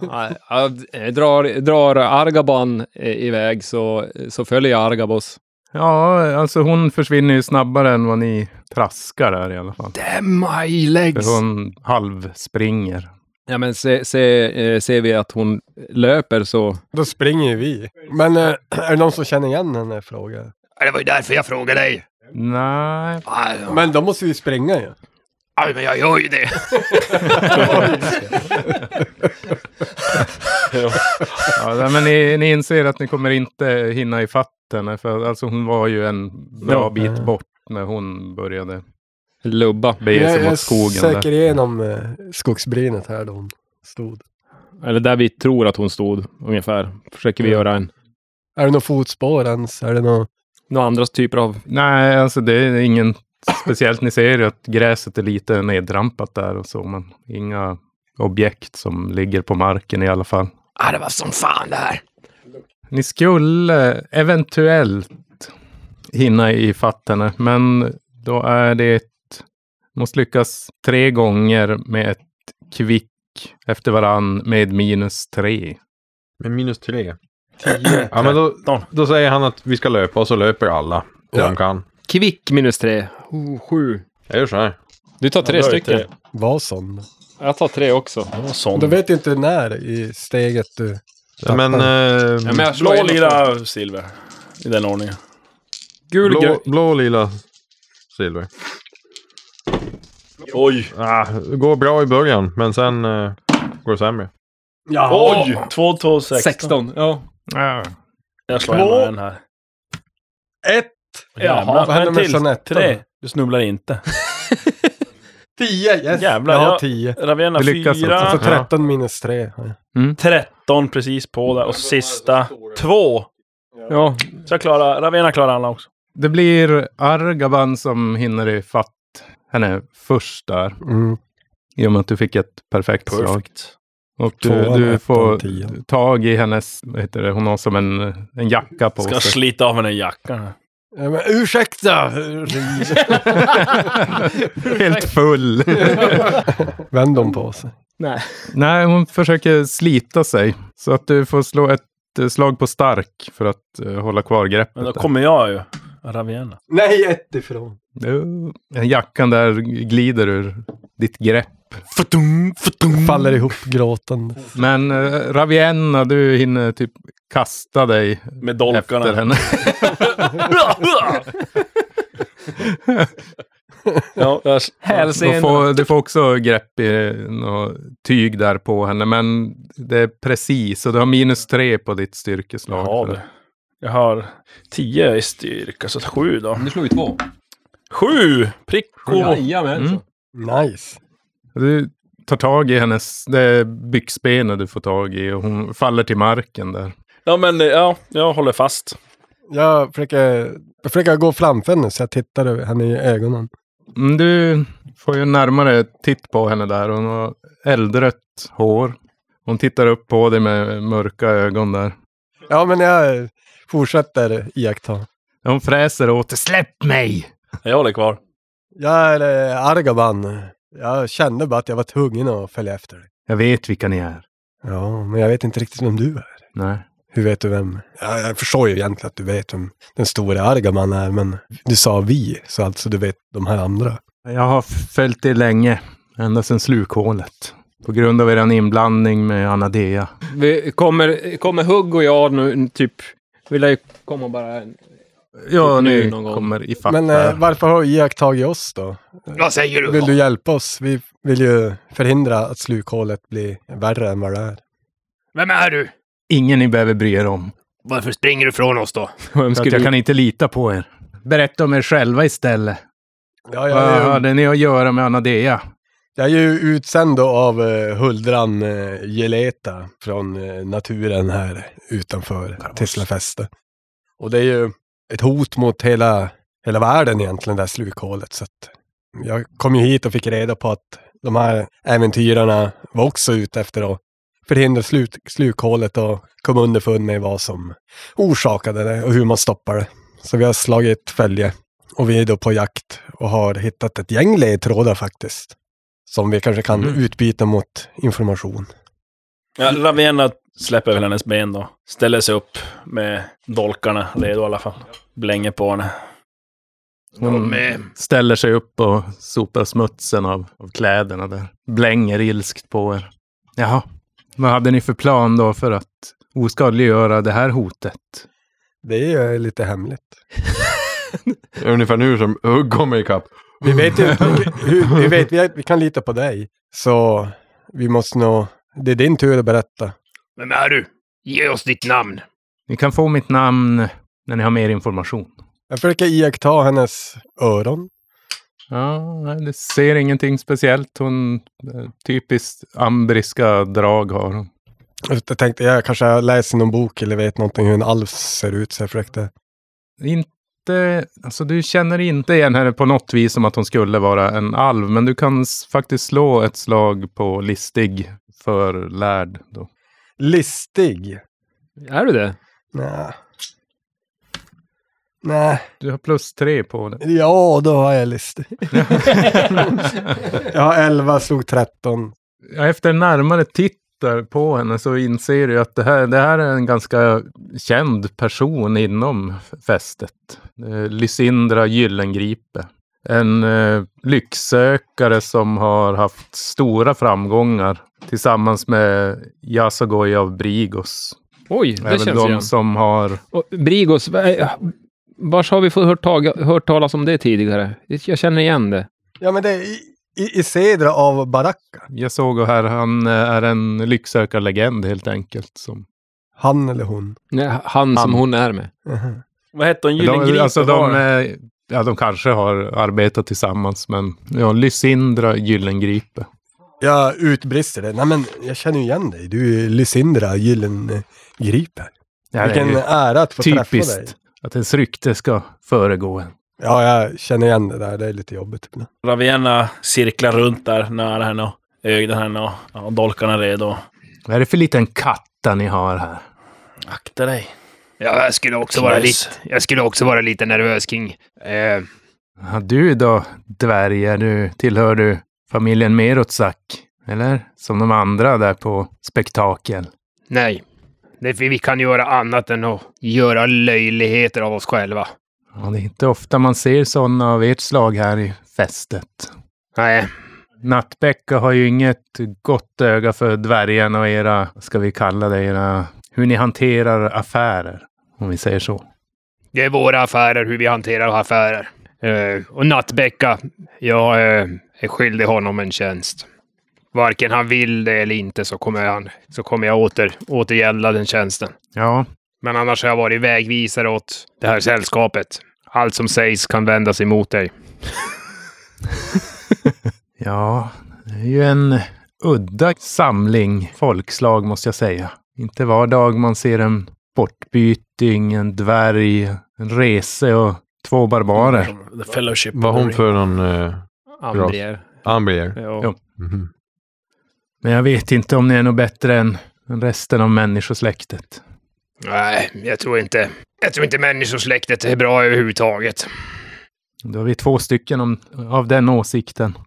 Speaker 6: Nej, jag drar, drar Argaban eh, iväg så, så följer jag Argabos.
Speaker 7: Ja, alltså hon försvinner ju snabbare än vad ni traskar där i alla fall.
Speaker 10: Damn my legs!
Speaker 7: För hon halvspringer.
Speaker 6: Ja, men se, se, eh, ser vi att hon löper så...
Speaker 4: Då springer ju vi. Men eh, är det någon som känner igen henne? Frågar. jag.
Speaker 10: Ja, Det var ju därför jag frågade dig.
Speaker 7: Nej,
Speaker 10: Aj,
Speaker 4: Men då måste vi springa ju.
Speaker 10: aj, men jag gör ju det.
Speaker 7: ja, nej, men ni, ni inser att ni kommer inte hinna ifatt henne. För alltså hon var ju en bra bit bort när hon började
Speaker 6: Lubba.
Speaker 7: bege sig
Speaker 4: jag
Speaker 7: mot skogen.
Speaker 4: söker
Speaker 7: Där.
Speaker 4: igenom eh, skogsbrynet här då hon stod.
Speaker 6: Eller där vi tror att hon stod, ungefär. Försöker vi göra en...
Speaker 4: Är det några fotspår ens? Är det någon...
Speaker 6: Några andra typer av...
Speaker 7: Nej, alltså det är ingen speciellt. Ni ser ju att gräset är lite neddrampat där och så. Men inga objekt som ligger på marken i alla fall.
Speaker 10: Ja, Ah, det var som fan det här.
Speaker 7: Ni skulle eventuellt hinna i henne, men då är det... Måste lyckas tre gånger med ett kvick efter varann med minus tre.
Speaker 11: Med minus tre. Ja, men då, då säger han att vi ska löpa och så löper alla. Ja. De kan.
Speaker 6: Kvick minus tre. Oh, sju.
Speaker 11: Jag gör så här.
Speaker 6: Du tar tre stycken.
Speaker 4: Var sån?
Speaker 6: Jag tar tre också.
Speaker 4: Då vet ju inte när i steget du...
Speaker 11: Ja, men, eh,
Speaker 6: Ja, men jag slår
Speaker 5: Blå,
Speaker 6: in och-
Speaker 5: lila, silver. I den ordningen.
Speaker 6: Gul, grön.
Speaker 11: blå, blå, lila, silver.
Speaker 5: Oj!
Speaker 11: Ah, det går bra i början, men sen eh, går det sämre.
Speaker 5: Oj! 2, 2, 16.
Speaker 6: 16. Ja.
Speaker 7: Ja.
Speaker 5: Jag slår gärna en här.
Speaker 4: Ett!
Speaker 5: Jävlar,
Speaker 4: vad händer
Speaker 5: en
Speaker 4: med
Speaker 5: till.
Speaker 4: sonetten?
Speaker 5: Tre. Du snubblar inte.
Speaker 4: Tio! Yes.
Speaker 5: Jävlar,
Speaker 4: jag har
Speaker 5: jag-
Speaker 4: tio.
Speaker 5: Ravena
Speaker 7: Du lyckas
Speaker 4: Så
Speaker 5: fyra.
Speaker 7: alltså.
Speaker 4: 13 minus tre. har jag.
Speaker 5: 13 precis på där. Och sista två.
Speaker 6: ja.
Speaker 5: Så jag klarar, Ravena klarar alla också.
Speaker 7: Det blir Argaban som hinner i fatt henne först där.
Speaker 4: Mm.
Speaker 7: I och med att du fick ett perfekt slag. Och du,
Speaker 4: Tvåan,
Speaker 7: du
Speaker 4: ettan,
Speaker 7: får
Speaker 4: tian.
Speaker 7: tag i hennes, vad heter det, hon har som en, en jacka på
Speaker 5: Ska jag
Speaker 7: sig.
Speaker 5: slita av henne jackan.
Speaker 4: Ja, men ursäkta!
Speaker 7: Helt full.
Speaker 4: Vänd dem på sig.
Speaker 7: Nej, hon försöker slita sig. Så att du får slå ett eh, slag på stark för att eh, hålla kvar greppet.
Speaker 5: Men då
Speaker 7: där.
Speaker 5: kommer jag ju. Ravena.
Speaker 4: Nej, ett ifrån.
Speaker 7: Jo, Jackan där glider ur ditt grepp ihop.
Speaker 4: Faller ihop gråtande.
Speaker 7: Men eh, Ravienna, du hinner typ kasta dig
Speaker 5: Med dolkarna.
Speaker 7: efter henne.
Speaker 5: ja, jag,
Speaker 7: Du får, du får också grepp i något tyg där på henne, men det är precis. Och du har minus tre på ditt styrkeslag.
Speaker 5: Ja,
Speaker 7: för-
Speaker 5: det. jag har 10 i styrka, så sju då.
Speaker 11: Du slog ju två.
Speaker 5: Sju! Pricko!
Speaker 11: Jajamensan.
Speaker 7: Mm.
Speaker 4: Nice.
Speaker 7: Du tar tag i hennes, det är byxbenet du får tag i och hon faller till marken där.
Speaker 5: Ja, men eh, ja, jag håller fast.
Speaker 4: Jag försöker, jag försöker gå framför henne så jag tittar henne i ögonen.
Speaker 7: Mm, Du får ju en närmare titt på henne där. Hon har eldrött hår. Hon tittar upp på dig med mörka ögon där.
Speaker 4: Ja, men jag fortsätter iaktta.
Speaker 7: Hon fräser åt dig. Släpp mig!
Speaker 5: Jag håller kvar.
Speaker 4: Jag är eh, Argaban. Jag kände bara att jag var tvungen att följa efter dig.
Speaker 7: Jag vet vilka ni är.
Speaker 4: Ja, men jag vet inte riktigt vem du är.
Speaker 7: Nej.
Speaker 4: Hur vet du vem? Ja, jag förstår ju egentligen att du vet vem den stora Argaban är, men du sa vi, så alltså du vet de här andra.
Speaker 7: Jag har följt er länge. Ända sedan slukhålet. På grund av er inblandning med Anadea.
Speaker 12: Vi kommer, kommer Hugg och jag nu, typ... Vi lär ju komma bara...
Speaker 7: Ja,
Speaker 12: Typ nu
Speaker 7: ni
Speaker 12: någon gång.
Speaker 7: kommer ifatt
Speaker 4: men eh,
Speaker 7: här.
Speaker 4: varför har du iakttagit oss då? Vad säger du? Vill du hjälpa oss? Vi vill ju förhindra att slukhålet blir värre än vad det är.
Speaker 7: Ingen ni behöver bry er om.
Speaker 12: Vem
Speaker 7: För att
Speaker 12: skulle
Speaker 7: jag
Speaker 12: vi...
Speaker 7: kan inte lita på er. Berätta om er själva istället.
Speaker 4: Ja, jag,
Speaker 7: Vad
Speaker 4: är, ju,
Speaker 7: hade ni att göra med Anadea?
Speaker 4: jag är ju utsänd då av eh, huldran eh, Geleta från eh, naturen här utanför Tislafäste. Och det är ju ett hot mot hela, hela världen egentligen, det här slukhålet. Så att jag kom ju hit och fick reda på att de här äventyrarna var också ute efter att förhindra slut, slukhålet och komma underfund med vad som orsakade det och hur man stoppar det. Så vi har slagit följe och vi är då på jakt och har hittat ett gäng ledtrådar faktiskt. Som vi kanske kan
Speaker 7: Mm.
Speaker 4: utbyta mot information.
Speaker 5: Ja, Ravenna släpper väl hennes ben då. Ställer sig upp med dolkarna redo i alla fall. Blänger på henne.
Speaker 4: Mm.
Speaker 7: Hon
Speaker 10: eh,
Speaker 7: ställer sig upp och sopar smutsen av, av kläderna där. Blänger ilskt på er. Jaha, vad hade ni för plan då för att oskadliggöra det här hotet?
Speaker 4: Det är ju lite hemligt.
Speaker 11: Det är Ungefär nu som Hugg kommer ikapp.
Speaker 4: Vi vet ju hur, vi, vet, vi, vi kan lita på dig. Så vi måste nog, det är din tur att berätta.
Speaker 5: Vem är du? Ge oss ditt namn!
Speaker 7: Ni kan få mitt namn när ni har mer information.
Speaker 4: Jag försöker iaktta hennes öron.
Speaker 7: Ja, nej, du ser ingenting speciellt. Hon eh, typiskt ambriska drag har hon.
Speaker 4: Jag tänkte, jag kanske har läst i någon bok eller vet någonting hur en alv ser ut. Så jag försökte.
Speaker 7: Inte, alltså du känner inte igen henne på något vis som att hon skulle vara en alv. Men du kan s- faktiskt slå ett slag på listig för lärd. Då.
Speaker 4: Listig?
Speaker 6: Är du det?
Speaker 4: Nej. Nej.
Speaker 7: Du har plus tre på det.
Speaker 4: Ja, då har jag listig. jag har 11, slog 13.
Speaker 7: Ja, Efter en närmare titt där på henne så inser du att det här, det här är en ganska känd person inom fästet. Eh, Lysindra Gyllengripe. En eh, lycksökare som har haft stora framgångar tillsammans med Yasagoi av Brigos.
Speaker 6: Oj, det
Speaker 7: Även
Speaker 6: känns
Speaker 7: de
Speaker 6: igen.
Speaker 7: som har...
Speaker 6: Och Brigos, var har vi fått hört, tag, hört talas om det tidigare? Jag känner igen det.
Speaker 4: Ja, men det är i, i, i Cedra av Baracka.
Speaker 7: Jag såg här, han eh, är en lycksökarlegend helt enkelt. Som,
Speaker 4: Han eller hon.
Speaker 6: Nej, han, som
Speaker 7: Han.
Speaker 6: hon är med.
Speaker 4: Mhm.
Speaker 5: Vad hette hon?
Speaker 7: de,
Speaker 5: Gyllengripe?
Speaker 7: alltså de,
Speaker 5: var det?
Speaker 7: eh, ja, de kanske har arbetat tillsammans, men ja, Lysindra Gyllengripe.
Speaker 4: Jag utbrister det. Nej, men jag känner ju igen dig. Du är ju Lysindra Gyllengripe.
Speaker 7: Ja, det är
Speaker 4: Vilken
Speaker 7: ju
Speaker 4: ära att få träffa dig.
Speaker 7: typiskt att ens rykte ska föregå en.
Speaker 4: Ja, jag känner igen det där. Det är lite jobbigt ibland.
Speaker 5: Ravenna cirklar runt där nära henne och ögnar henne och ja, dolkarna är redo.
Speaker 7: Vad är det för liten katta ni har här?
Speaker 5: Akta dig.
Speaker 10: Ja, jag skulle också vara lite, jag skulle också vara lite nervös kring... Eh,
Speaker 7: Ja, du då, dvärg, är du, tillhör du familjen Merotsak? Eller? Som de andra där på spektakel.
Speaker 10: nej. Det, vi kan göra annat än att göra löjligheter av oss själva.
Speaker 7: Ja, det är inte ofta man ser sådana av ert slag här i fästet.
Speaker 10: Nej.
Speaker 7: Nattbäcka har ju inget gott öga för dvärgarna och era, vad ska vi kalla det, era, hur ni hanterar affärer, om vi säger så.
Speaker 10: Det är våra affärer, hur vi hanterar affärer. Eh, och Nattbäcka, jag eh, är skyldig honom en tjänst. Varken han vill det eller inte så kommer, han, så kommer jag åter, återgälda den tjänsten.
Speaker 7: Ja,
Speaker 10: Men annars har jag varit vägvisare åt det här sällskapet. Allt som sägs kan vändas emot dig.
Speaker 7: ja, det är ju en udda samling folkslag måste jag säga. Inte var dag man ser en bortbyting, en dvärg, en rese och två barbarer.
Speaker 13: The Fellowship.
Speaker 11: Vad hon för någon... Eh, Mhm.
Speaker 13: Ambrier.
Speaker 11: ras? Ambrier.
Speaker 7: Jo. Men jag vet inte om ni är något bättre än än resten av människosläktet.
Speaker 10: Nej, jag tror inte. Jag tror inte människosläktet är bra överhuvudtaget.
Speaker 7: Då har vi två stycken om, av den åsikten.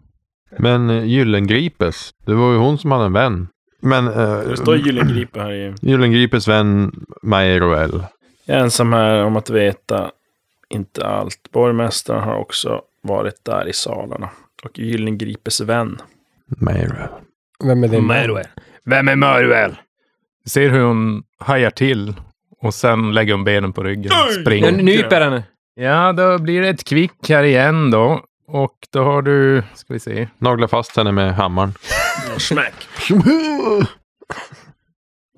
Speaker 11: Men eh, Gyllengripes, det var ju hon som hade en vän. Men... Eh,
Speaker 5: Det står Gyllengripe här i...
Speaker 11: Gyllengripes vän Majeroel.
Speaker 5: Jag är ensam här om att veta inte allt. Borgmästaren har också varit där i salarna. Och Gyllengripes vän.
Speaker 11: Majeroel.
Speaker 4: Vem är
Speaker 10: Möruel. Vem är Möruel?
Speaker 7: Du ser hur hon hajar till och sen lägger hon benen på ryggen och springer.
Speaker 6: Jag nyper henne.
Speaker 7: Ja, då blir det ett kvick här igen då. Och då har du, ska vi se.
Speaker 11: Nagla fast henne med hammaren.
Speaker 5: Mm, Smack.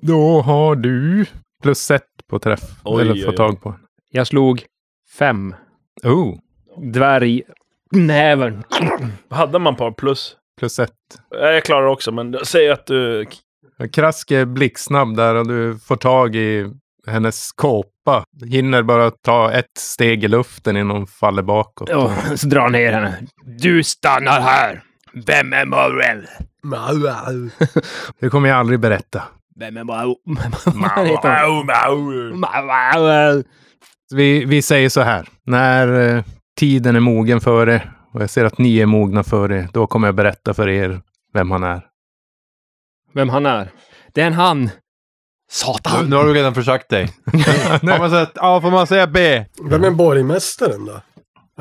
Speaker 7: Då har du plus ett på träff.
Speaker 5: Oj,
Speaker 7: eller
Speaker 5: oj,
Speaker 7: få
Speaker 5: oj.
Speaker 7: tag på.
Speaker 13: Jag slog fem.
Speaker 7: Oh.
Speaker 13: Dvärg. Näven.
Speaker 5: Hade man par plus?
Speaker 7: Plus ett.
Speaker 5: Ja, Jag klarar också, men säg att du...
Speaker 7: Krask är blixtsnabb där och du får tag i hennes kåpa. Hinner bara ta ett steg i luften innan hon faller bakåt.
Speaker 10: Ja, så drar ner henne. Du stannar här. Vem är Möruel?
Speaker 7: Det kommer jag aldrig berätta.
Speaker 10: Vem är Mau?
Speaker 7: Mau, Mau,
Speaker 10: Mau.
Speaker 7: Vi, vi säger så här. När eh, tiden är mogen för det och jag ser att ni är mogna för det, då kommer jag berätta för er vem han är.
Speaker 13: Vem han är. Det är en han. Satan.
Speaker 11: Nu har du redan försökt dig. Har man sett, ja, får man säga B?
Speaker 4: Vem är borgmästaren då?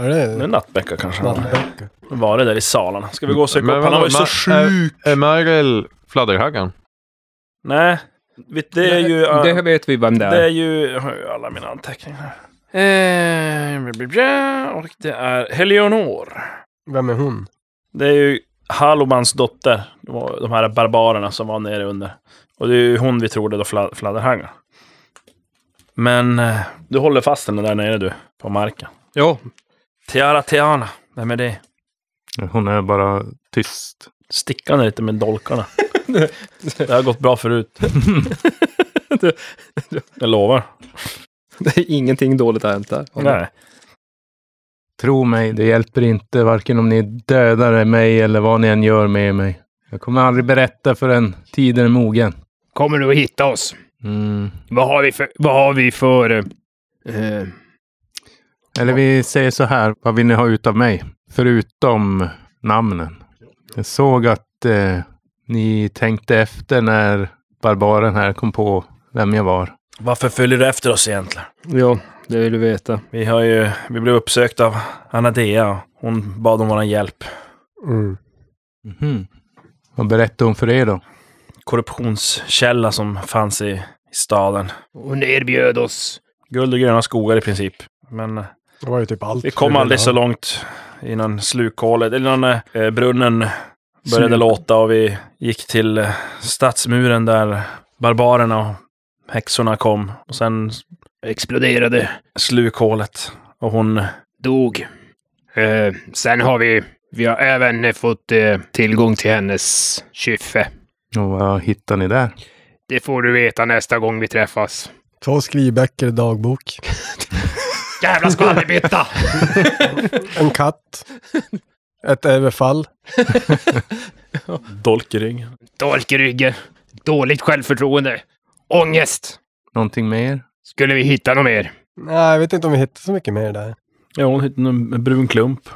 Speaker 4: Är det...
Speaker 5: Det är Nattbäcka kanske. Nattbäcka. Var det där i salarna? Ska vi gå och söka
Speaker 11: Men
Speaker 5: upp? Han var ju
Speaker 11: vadå,
Speaker 5: så
Speaker 11: Ma- är-
Speaker 5: sjuk.
Speaker 11: Är Majeroel fladderhaggan?
Speaker 5: Nej. Vet- Det är ju... äh,
Speaker 6: Det vet vi vem det
Speaker 5: Det är
Speaker 6: är.
Speaker 5: ju... Jag har ju alla mina anteckningar. Eh, bla, bla, bla. och det är Heleonor.
Speaker 4: Vem är hon?
Speaker 5: Det är ju Halobans dotter. Det var de här barbarerna som var nere under. Och det är ju hon vi trodde då fla- fladderhaggan. Men eh, du håller fast henne där nere du, på marken.
Speaker 13: Jo.
Speaker 5: Tiara Tiana, vem är det?
Speaker 7: Hon är bara tyst.
Speaker 5: Stickan är lite med dolkarna. det har gått bra förut. Jag lovar.
Speaker 13: Det är ingenting dåligt har hänt där.
Speaker 5: Nej.
Speaker 7: Tro mig, det hjälper inte varken om ni dödar mig eller vad ni än gör med mig. Jag kommer aldrig berätta förrän tiden är mogen.
Speaker 10: Kommer du att hitta oss?
Speaker 7: Mm.
Speaker 10: Vad har vi för... Vad har vi för... eh,
Speaker 7: Eller vi säger så här, vad vill ni ha ut av mig? Förutom namnen. Jag såg att eh, ni tänkte efter när barbaren här kom på vem jag var.
Speaker 5: Varför följer du efter oss egentligen?
Speaker 13: Jo, det vill du veta.
Speaker 5: Vi har ju... Vi blev uppsökta av Anadea. och Hon bad om vår hjälp.
Speaker 4: Mm.
Speaker 7: Mhm. Vad berättade hon för er då?
Speaker 5: Korruptionskälla som fanns i, i staden.
Speaker 10: Hon erbjöd oss.
Speaker 5: Guld och gröna skogar i princip. Men
Speaker 4: Det var ju typ allt.
Speaker 5: vi kom aldrig så långt innan slukhålet, eller innan eh, brunnen började
Speaker 4: Sluk.
Speaker 5: låta och vi gick till eh, stadsmuren där barbarerna och häxorna kom. Och sen
Speaker 10: Exploderade.
Speaker 5: slukhålet. Och hon...
Speaker 10: Dog. Eh, sen har vi... Vi har även fått eh, tillgång till hennes kyffe.
Speaker 7: Och vad hittade ni där?
Speaker 10: Det får du veta nästa gång vi träffas.
Speaker 4: Två skrivböcker, dagbok.
Speaker 10: Jävla skvallerbytta!
Speaker 4: En katt. Ett överfall.
Speaker 5: Dolkering.
Speaker 10: Dolkrygge. Dåligt självförtroende. Ångest.
Speaker 7: Någonting mer?
Speaker 10: Skulle vi hitta något mer?
Speaker 4: Nej, jag vet inte om vi hittar så mycket mer där.
Speaker 5: Ja, hon hittade en brun klump.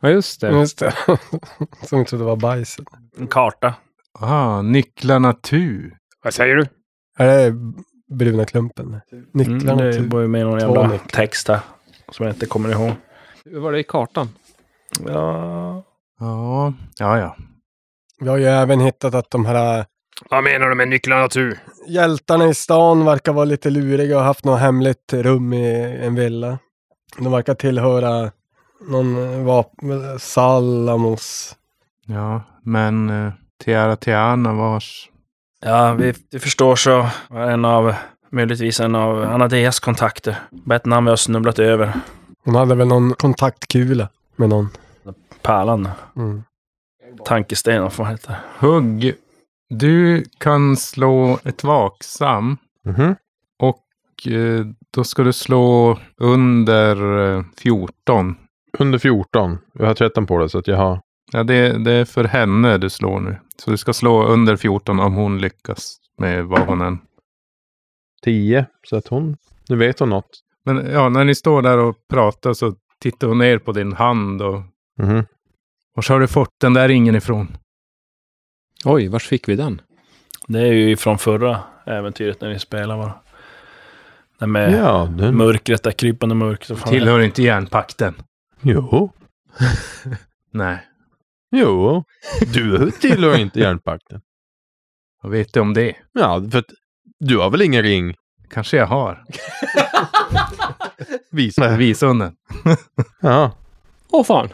Speaker 13: Ja, just det.
Speaker 4: Just det. Som jag trodde var bajs.
Speaker 5: En karta.
Speaker 7: Ah, nycklarna tur.
Speaker 10: Vad säger du?
Speaker 4: Är det bruna klumpen? Nycklarna typ.
Speaker 5: Mm, det
Speaker 4: tur.
Speaker 5: var ju med någon
Speaker 4: Två
Speaker 5: jävla
Speaker 4: nycklar.
Speaker 5: text där. Som jag inte kommer ihåg.
Speaker 13: Hur var det i kartan?
Speaker 5: Ja...
Speaker 7: Ja, ja, ja.
Speaker 4: Vi har ju även hittat att de här
Speaker 10: Vad menar du med nycklarna tu?
Speaker 4: hjältarna i stan verkar vara lite luriga och har haft något hemligt rum i en villa. De verkar tillhöra någon vapen... Salamos.
Speaker 7: Ja, men eh, Tiara Tiana vars...
Speaker 5: Ja, vi, vi förstår så var en av, möjligtvis en av Anadeas kontakter. Bara ett namn vi har snubblat över.
Speaker 4: Hon hade väl någon kontaktkula med någon.
Speaker 5: Pärlan.
Speaker 4: Mm.
Speaker 5: Tankesten, vad fan heter det?
Speaker 7: Hugg, du kan slå ett vaksam.
Speaker 11: Mhm.
Speaker 7: Och eh, då ska du slå under eh, 14.
Speaker 11: Under 14? Jag har 13 på det så att jag har...
Speaker 7: Ja, det, det är för henne du slår nu. Så du ska slå under 14 om hon lyckas med vad hon än
Speaker 11: 10. Så att hon... Nu vet hon något.
Speaker 7: Men ja, när ni står där och pratar så tittar hon ner på din hand och...
Speaker 11: Mhm.
Speaker 7: Och så har du fått den där ringen ifrån.
Speaker 6: Oj, vars fick vi den?
Speaker 5: Det är ju från förra äventyret när ni spelade bara. Det med
Speaker 7: Ja, den-
Speaker 5: mörkret, där krypande mörkret. vad fan
Speaker 7: Tillhör
Speaker 5: är det?
Speaker 7: inte järnpakten.
Speaker 11: Jo.
Speaker 7: Nej.
Speaker 11: Jo. Du tillhör inte järnpakten.
Speaker 7: Vad vet du om det?
Speaker 11: Ja, för att du har väl ingen ring?
Speaker 7: Kanske jag har.
Speaker 11: Visa,
Speaker 7: visa hon den.
Speaker 11: ja.
Speaker 14: Åh fan.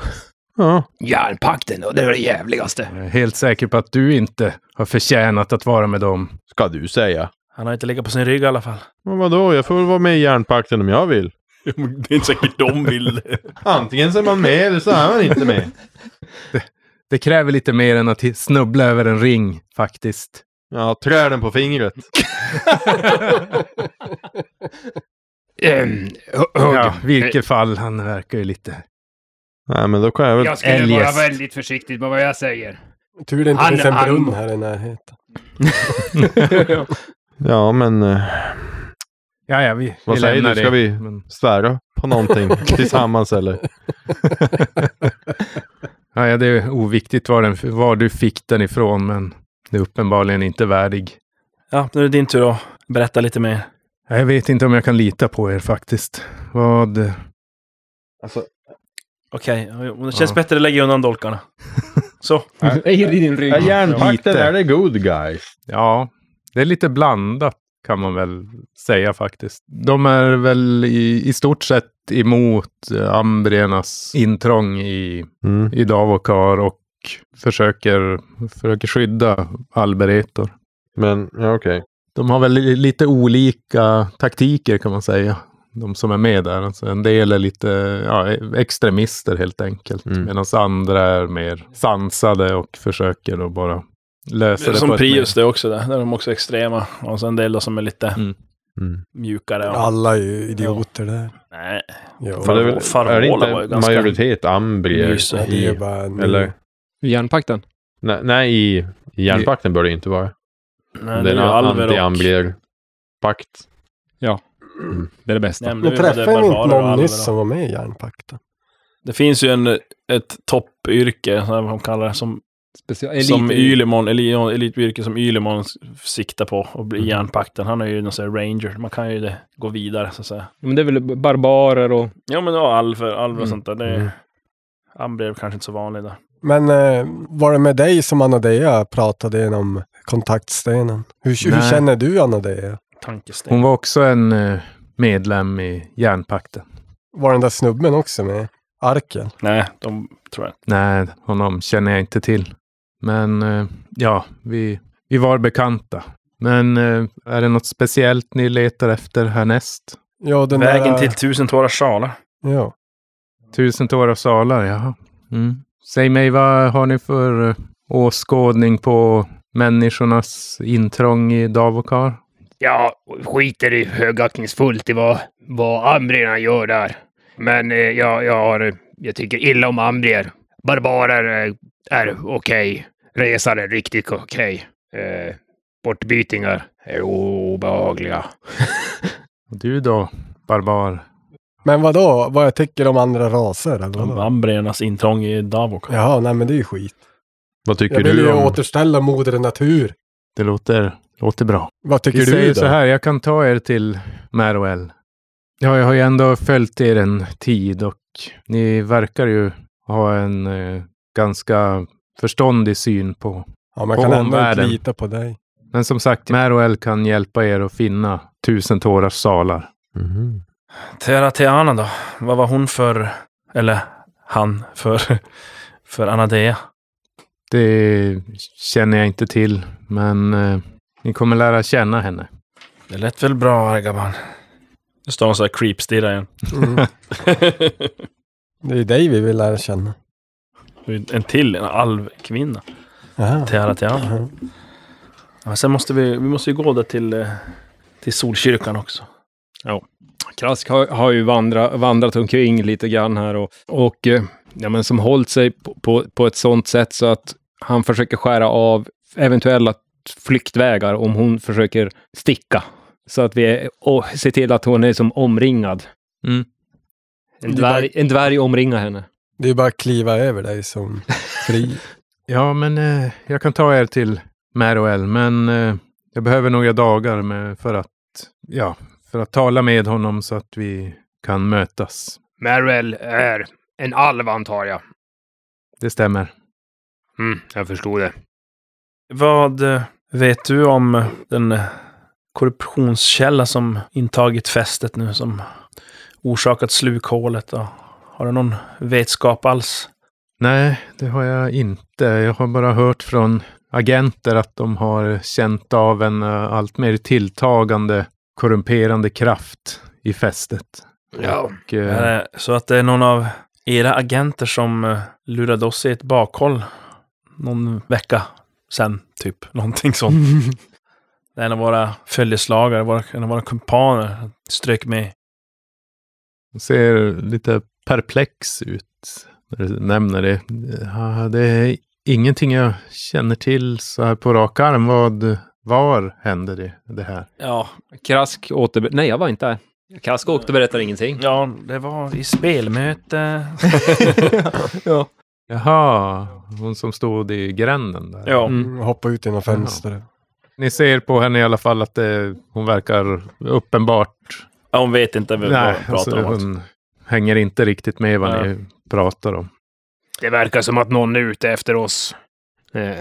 Speaker 11: Ja.
Speaker 14: Järnpakten, och det var det jävligaste.
Speaker 7: Jag är helt säker på att du inte har förtjänat att vara med dem.
Speaker 11: Ska du säga.
Speaker 5: Han har inte legat på sin rygg i alla fall.
Speaker 11: Men vadå, jag får väl vara med i järnpakten om jag vill.
Speaker 5: Det är inte säkert de vill det.
Speaker 11: Antingen så är man med eller så är man inte med.
Speaker 7: Det kräver lite mer än att snubbla över en ring, faktiskt.
Speaker 11: Ja, trä den på fingret.
Speaker 10: Ehm, hugg.
Speaker 7: ja, vilket fall, han verkar ju lite...
Speaker 11: Nej, men då kan jag väl...
Speaker 10: Jag skulle vara väldigt försiktig med vad jag säger.
Speaker 4: Tur det inte
Speaker 10: Han-
Speaker 4: finns en
Speaker 10: han-
Speaker 4: brunn här i närheten.
Speaker 11: Ja, men... eh,
Speaker 7: Ja, ja, vi, vi
Speaker 11: Vad säger
Speaker 7: lämnar
Speaker 11: du? Ska
Speaker 7: det,
Speaker 11: vi
Speaker 7: men-
Speaker 11: svära på någonting tillsammans eller?
Speaker 7: Ja, ja, det är oviktigt var, den, var du fick den ifrån, men det är uppenbarligen inte värdig.
Speaker 5: Ja, nu är det din tur att berätta lite mer.
Speaker 7: Ja, Jag vet inte om jag kan lita på er faktiskt. Vad...
Speaker 5: Okej, om det känns bättre lägger jag undan dolkarna. Så.
Speaker 14: Är i din rygg.
Speaker 11: Ja, järnpakten,
Speaker 7: Lite.
Speaker 11: är det good guys?
Speaker 7: Ja, det är lite blandat kan man väl säga faktiskt. De är väl i, i stort sett emot eh, ambriernas intrång i,
Speaker 11: Mm.
Speaker 7: i Davokar och försöker, försöker skydda alberetor.
Speaker 11: Men, ja, okej.
Speaker 7: De har väl li- lite olika taktiker kan man säga. De som är med där. Alltså en del är lite ja, extremister helt enkelt. Medan andra är mer sansade och försöker då bara lösa det, på
Speaker 5: Som
Speaker 7: ett
Speaker 5: Prius det också där. Där är de också extrema. Och sen en del då som är lite
Speaker 11: Mm.
Speaker 5: mjukare. Och...
Speaker 4: Alla är ju idioter där.
Speaker 5: Nej.
Speaker 4: Jo.
Speaker 11: Men det är, väl,
Speaker 5: Farvola
Speaker 11: är det inte
Speaker 5: var ju ganska-
Speaker 11: majoritet ambrier?
Speaker 5: Just det,
Speaker 4: det
Speaker 11: i,
Speaker 4: är bara en-
Speaker 11: eller?
Speaker 6: Järnpakten?
Speaker 11: Nej, nej i, i järnpakten bör det inte vara.
Speaker 5: Nej,
Speaker 11: det är
Speaker 5: ju
Speaker 11: en
Speaker 5: alver och-
Speaker 11: anti-ambrier-pakt.
Speaker 6: Ja, det är det bästa.
Speaker 5: Nämnde
Speaker 4: Men
Speaker 5: vi både
Speaker 4: träffade vi inte
Speaker 5: barbarer och
Speaker 4: någon
Speaker 5: alver
Speaker 4: nyss
Speaker 5: då?
Speaker 4: som var med i järnpakten?
Speaker 5: Det finns ju en, ett toppyrke, som de kallar det, som,
Speaker 6: Special,
Speaker 5: som Ylemon, eli- elityrke som Ylemon s- siktar på och blir järnpakten. Han är ju någon sån här ranger. Man kan ju det, gå vidare så att säga.
Speaker 14: Men det är väl barbarer och...
Speaker 5: Ja men ja, alver, alver och sånt där. Det
Speaker 11: Mm.
Speaker 5: är, han blev kanske inte så vanlig där.
Speaker 4: Men eh, var det med dig som Anadea pratade genom kontaktstenen? Hur, hur
Speaker 7: Nej.
Speaker 4: känner du Anadea?
Speaker 5: Tankesten.
Speaker 7: Hon var också en eh, medlem i järnpakten.
Speaker 4: Var den där snubben också med? Arkel?
Speaker 5: Nej, de tror jag inte.
Speaker 7: Nej, honom känner jag inte till. Men eh, ja, vi, vi var bekanta. Men eh, är det något speciellt ni letar efter härnäst?
Speaker 4: Ja, den
Speaker 5: Vägen
Speaker 4: där,
Speaker 5: till tusen tårar sjalar.
Speaker 4: Ja.
Speaker 7: Tusen tårar salar, jaha. Mm. Säg mig, vad har ni för eh, åskådning på människornas intrång i Davokar?
Speaker 10: Jag skiter i högaktningsfullt i vad, vad ambrierna gör där. Men eh, jag, jag, har, jag tycker illa om ambrier. Barbarer eh, är okej. Resare är riktigt okej. Eh, bortbytingar är obehagliga.
Speaker 7: Och Du då, barbar?
Speaker 4: Men vad då? Vad jag tycker om andra raser? Eller
Speaker 5: De
Speaker 4: vadå?
Speaker 5: Ambriernas intrång i Davok.
Speaker 4: Jaha, nej men det är ju skit.
Speaker 11: Vad tycker
Speaker 4: jag vill ju
Speaker 11: du om...
Speaker 4: återställa moder natur.
Speaker 7: Det låter, låter bra.
Speaker 4: Vad tycker
Speaker 7: Vi
Speaker 4: du
Speaker 7: säger
Speaker 4: då?
Speaker 7: så här, jag kan ta er till Meruel. Ja, jag har ju ändå följt er en tid och ni verkar ju ha en eh, ganska förståndig syn på
Speaker 4: Ja, man
Speaker 7: på
Speaker 4: kan ändå inte
Speaker 7: omvärlden.
Speaker 4: lita på dig.
Speaker 7: Men som sagt, Meroel kan hjälpa er att finna tusen tårars salar.
Speaker 11: Mhm.
Speaker 5: Tera Teana då? Vad var hon för, eller han för, för Anadea?
Speaker 7: Det känner jag inte till, men eh, ni kommer lära känna henne.
Speaker 5: Det lät väl bra, Argaban? Nu står hon så här creep-stirrar igen.
Speaker 4: Mm. Det är dig vi vill lära känna.
Speaker 5: en till, en alvkvinna.
Speaker 4: Aha.
Speaker 5: Teara Teana.
Speaker 4: Aha.
Speaker 5: Ja, sen måste vi, vi måste ju gå där till, eh, till Solkyrkan också.
Speaker 15: Ja. Krask har, har ju vandra, vandrat omkring lite grann här och, och eh, ja, men som hållit sig på, på, på ett sånt sätt så att han försöker skära av eventuella flyktvägar om hon försöker sticka. Så att vi är, och ser till att hon är som omringad.
Speaker 7: Mm.
Speaker 15: En, dvärg, en dvärg omringar henne.
Speaker 4: Det är bara att kliva över dig som fri.
Speaker 7: Ja, men eh, jag kan ta er till Meroel, men eh, jag behöver några dagar med, för, att, ja, för att tala med honom så att vi kan mötas.
Speaker 10: Marvel är en alv antar jag.
Speaker 7: Det stämmer.
Speaker 10: Mm, jag förstod det.
Speaker 5: Vad eh, vet du om den eh, korruptionskälla som intagit fästet nu, som orsakat slukhålet? Och har du någon vetskap alls?
Speaker 7: Nej, det har jag inte. Jag har bara hört från agenter att de har känt av en eh, allt mer tilltagande korrumperande kraft i fästet. Och, eh,
Speaker 5: Är det så att det är någon av era agenter som eh, lurade oss i ett bakhåll någon vecka sen, typ. Någonting sånt. Det är en av våra följeslagare, våra, en av våra kumpaner, strök med.
Speaker 7: Hon ser lite perplex ut när du nämner det. Ja, Det är ingenting jag känner till så här på rak arm. Vad, var hände det, det här?
Speaker 5: Ja.
Speaker 15: Krask åter... Nej, jag var inte där. Krask återberättar ingenting.
Speaker 5: Ja, det var i spelmöte.
Speaker 15: ja.
Speaker 7: Jaha, hon som stod i gränden där.
Speaker 5: Ja.
Speaker 4: Mm, hoppa ut genom fönstret.
Speaker 7: Ni ser på henne i alla fall att det, hon verkar uppenbart...
Speaker 5: Ja, hon vet inte vad
Speaker 7: Nej,
Speaker 5: hon pratar
Speaker 7: alltså,
Speaker 5: om.
Speaker 7: Hon hänger inte riktigt med vad
Speaker 10: Nej.
Speaker 7: ni pratar om.
Speaker 10: Det verkar som att någon är ute efter oss. Eh,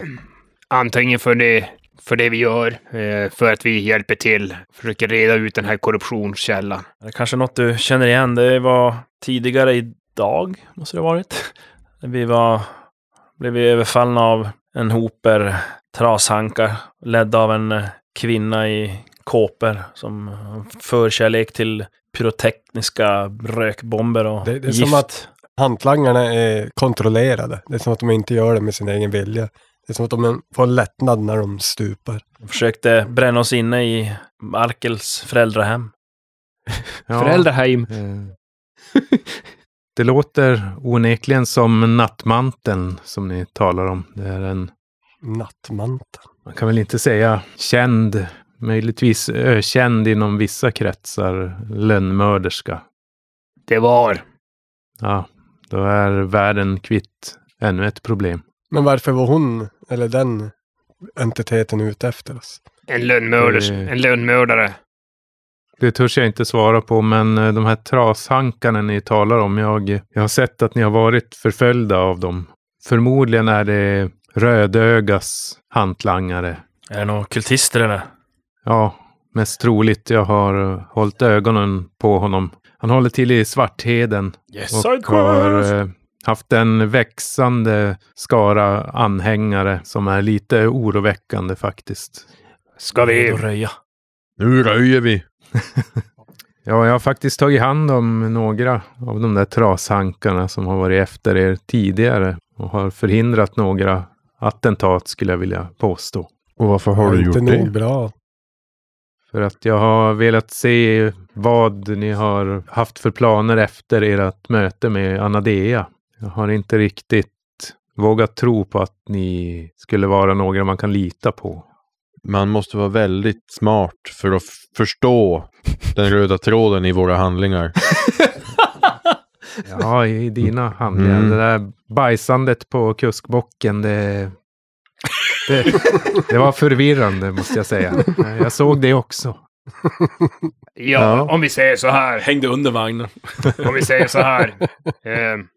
Speaker 10: antingen för det, för det vi gör, eh, för att vi hjälper till, försöker reda ut den här korruptionskällan.
Speaker 5: Det är kanske något du känner igen. Det var tidigare idag, måste det ha varit. Vi var, blev vi överfallna av en hoper trashankar, ledd av en eh, kvinna i kåpor som har förkärlek till pyrotekniska rökbomber och
Speaker 4: Det, det är
Speaker 5: gift.
Speaker 4: som att hantlangarna är kontrollerade. Det är som att de inte gör det med sin egen vilja. Det är som att de får en lättnad när de stupar.
Speaker 5: De försökte bränna oss inne i Markels föräldrahem.
Speaker 7: Ja. Eh, Det låter onekligen som nattmanteln som ni talar om. Det är en,
Speaker 4: Nattmanteln.
Speaker 7: man kan väl inte säga känd, möjligtvis ökänd inom vissa kretsar, lönnmörderska.
Speaker 10: Det var.
Speaker 7: Ja, då är världen kvitt ännu ett problem.
Speaker 4: Men varför var hon, eller den entiteten, ute efter oss?
Speaker 10: En lönnmörders,
Speaker 7: Eh.
Speaker 10: en lönnmördare.
Speaker 7: Det törs jag inte svara på, men eh, de här trashankarna ni talar om, jag, jag har sett att ni har varit förföljda av dem. Förmodligen är det Rödögas hantlangare.
Speaker 5: Är det några kultister eller?
Speaker 7: Ja, mest troligt. Jag har eh, hållit ögonen på honom. Han håller till i Svartheden.
Speaker 5: Yes, I
Speaker 7: och har eh, haft en växande skara anhängare som är lite oroväckande faktiskt.
Speaker 10: Ska vi...
Speaker 5: röja?
Speaker 7: Nu röjer vi! ja, jag har faktiskt tagit hand om några av de där trashankarna som har varit efter er tidigare och har förhindrat några attentat skulle jag vilja påstå.
Speaker 4: Och varför har
Speaker 7: du
Speaker 4: inte
Speaker 7: gjort det?
Speaker 4: nog bra.
Speaker 7: För att jag har velat se vad ni har haft för planer efter ert möte med Anadea. Jag har inte riktigt vågat tro på att ni skulle vara några man kan lita på.
Speaker 11: Man måste vara väldigt smart för att f- förstå den röda tråden i våra handlingar.
Speaker 7: Ja, i dina handlingar.
Speaker 11: Mm.
Speaker 7: Det där bajsandet på kuskbocken, det, det, det var förvirrande måste jag säga. Jag såg det också.
Speaker 10: Ja,
Speaker 7: Ja.
Speaker 10: om vi säger så här.
Speaker 5: Hängde under vagnen.
Speaker 10: om vi säger så här. Eh, Ehm,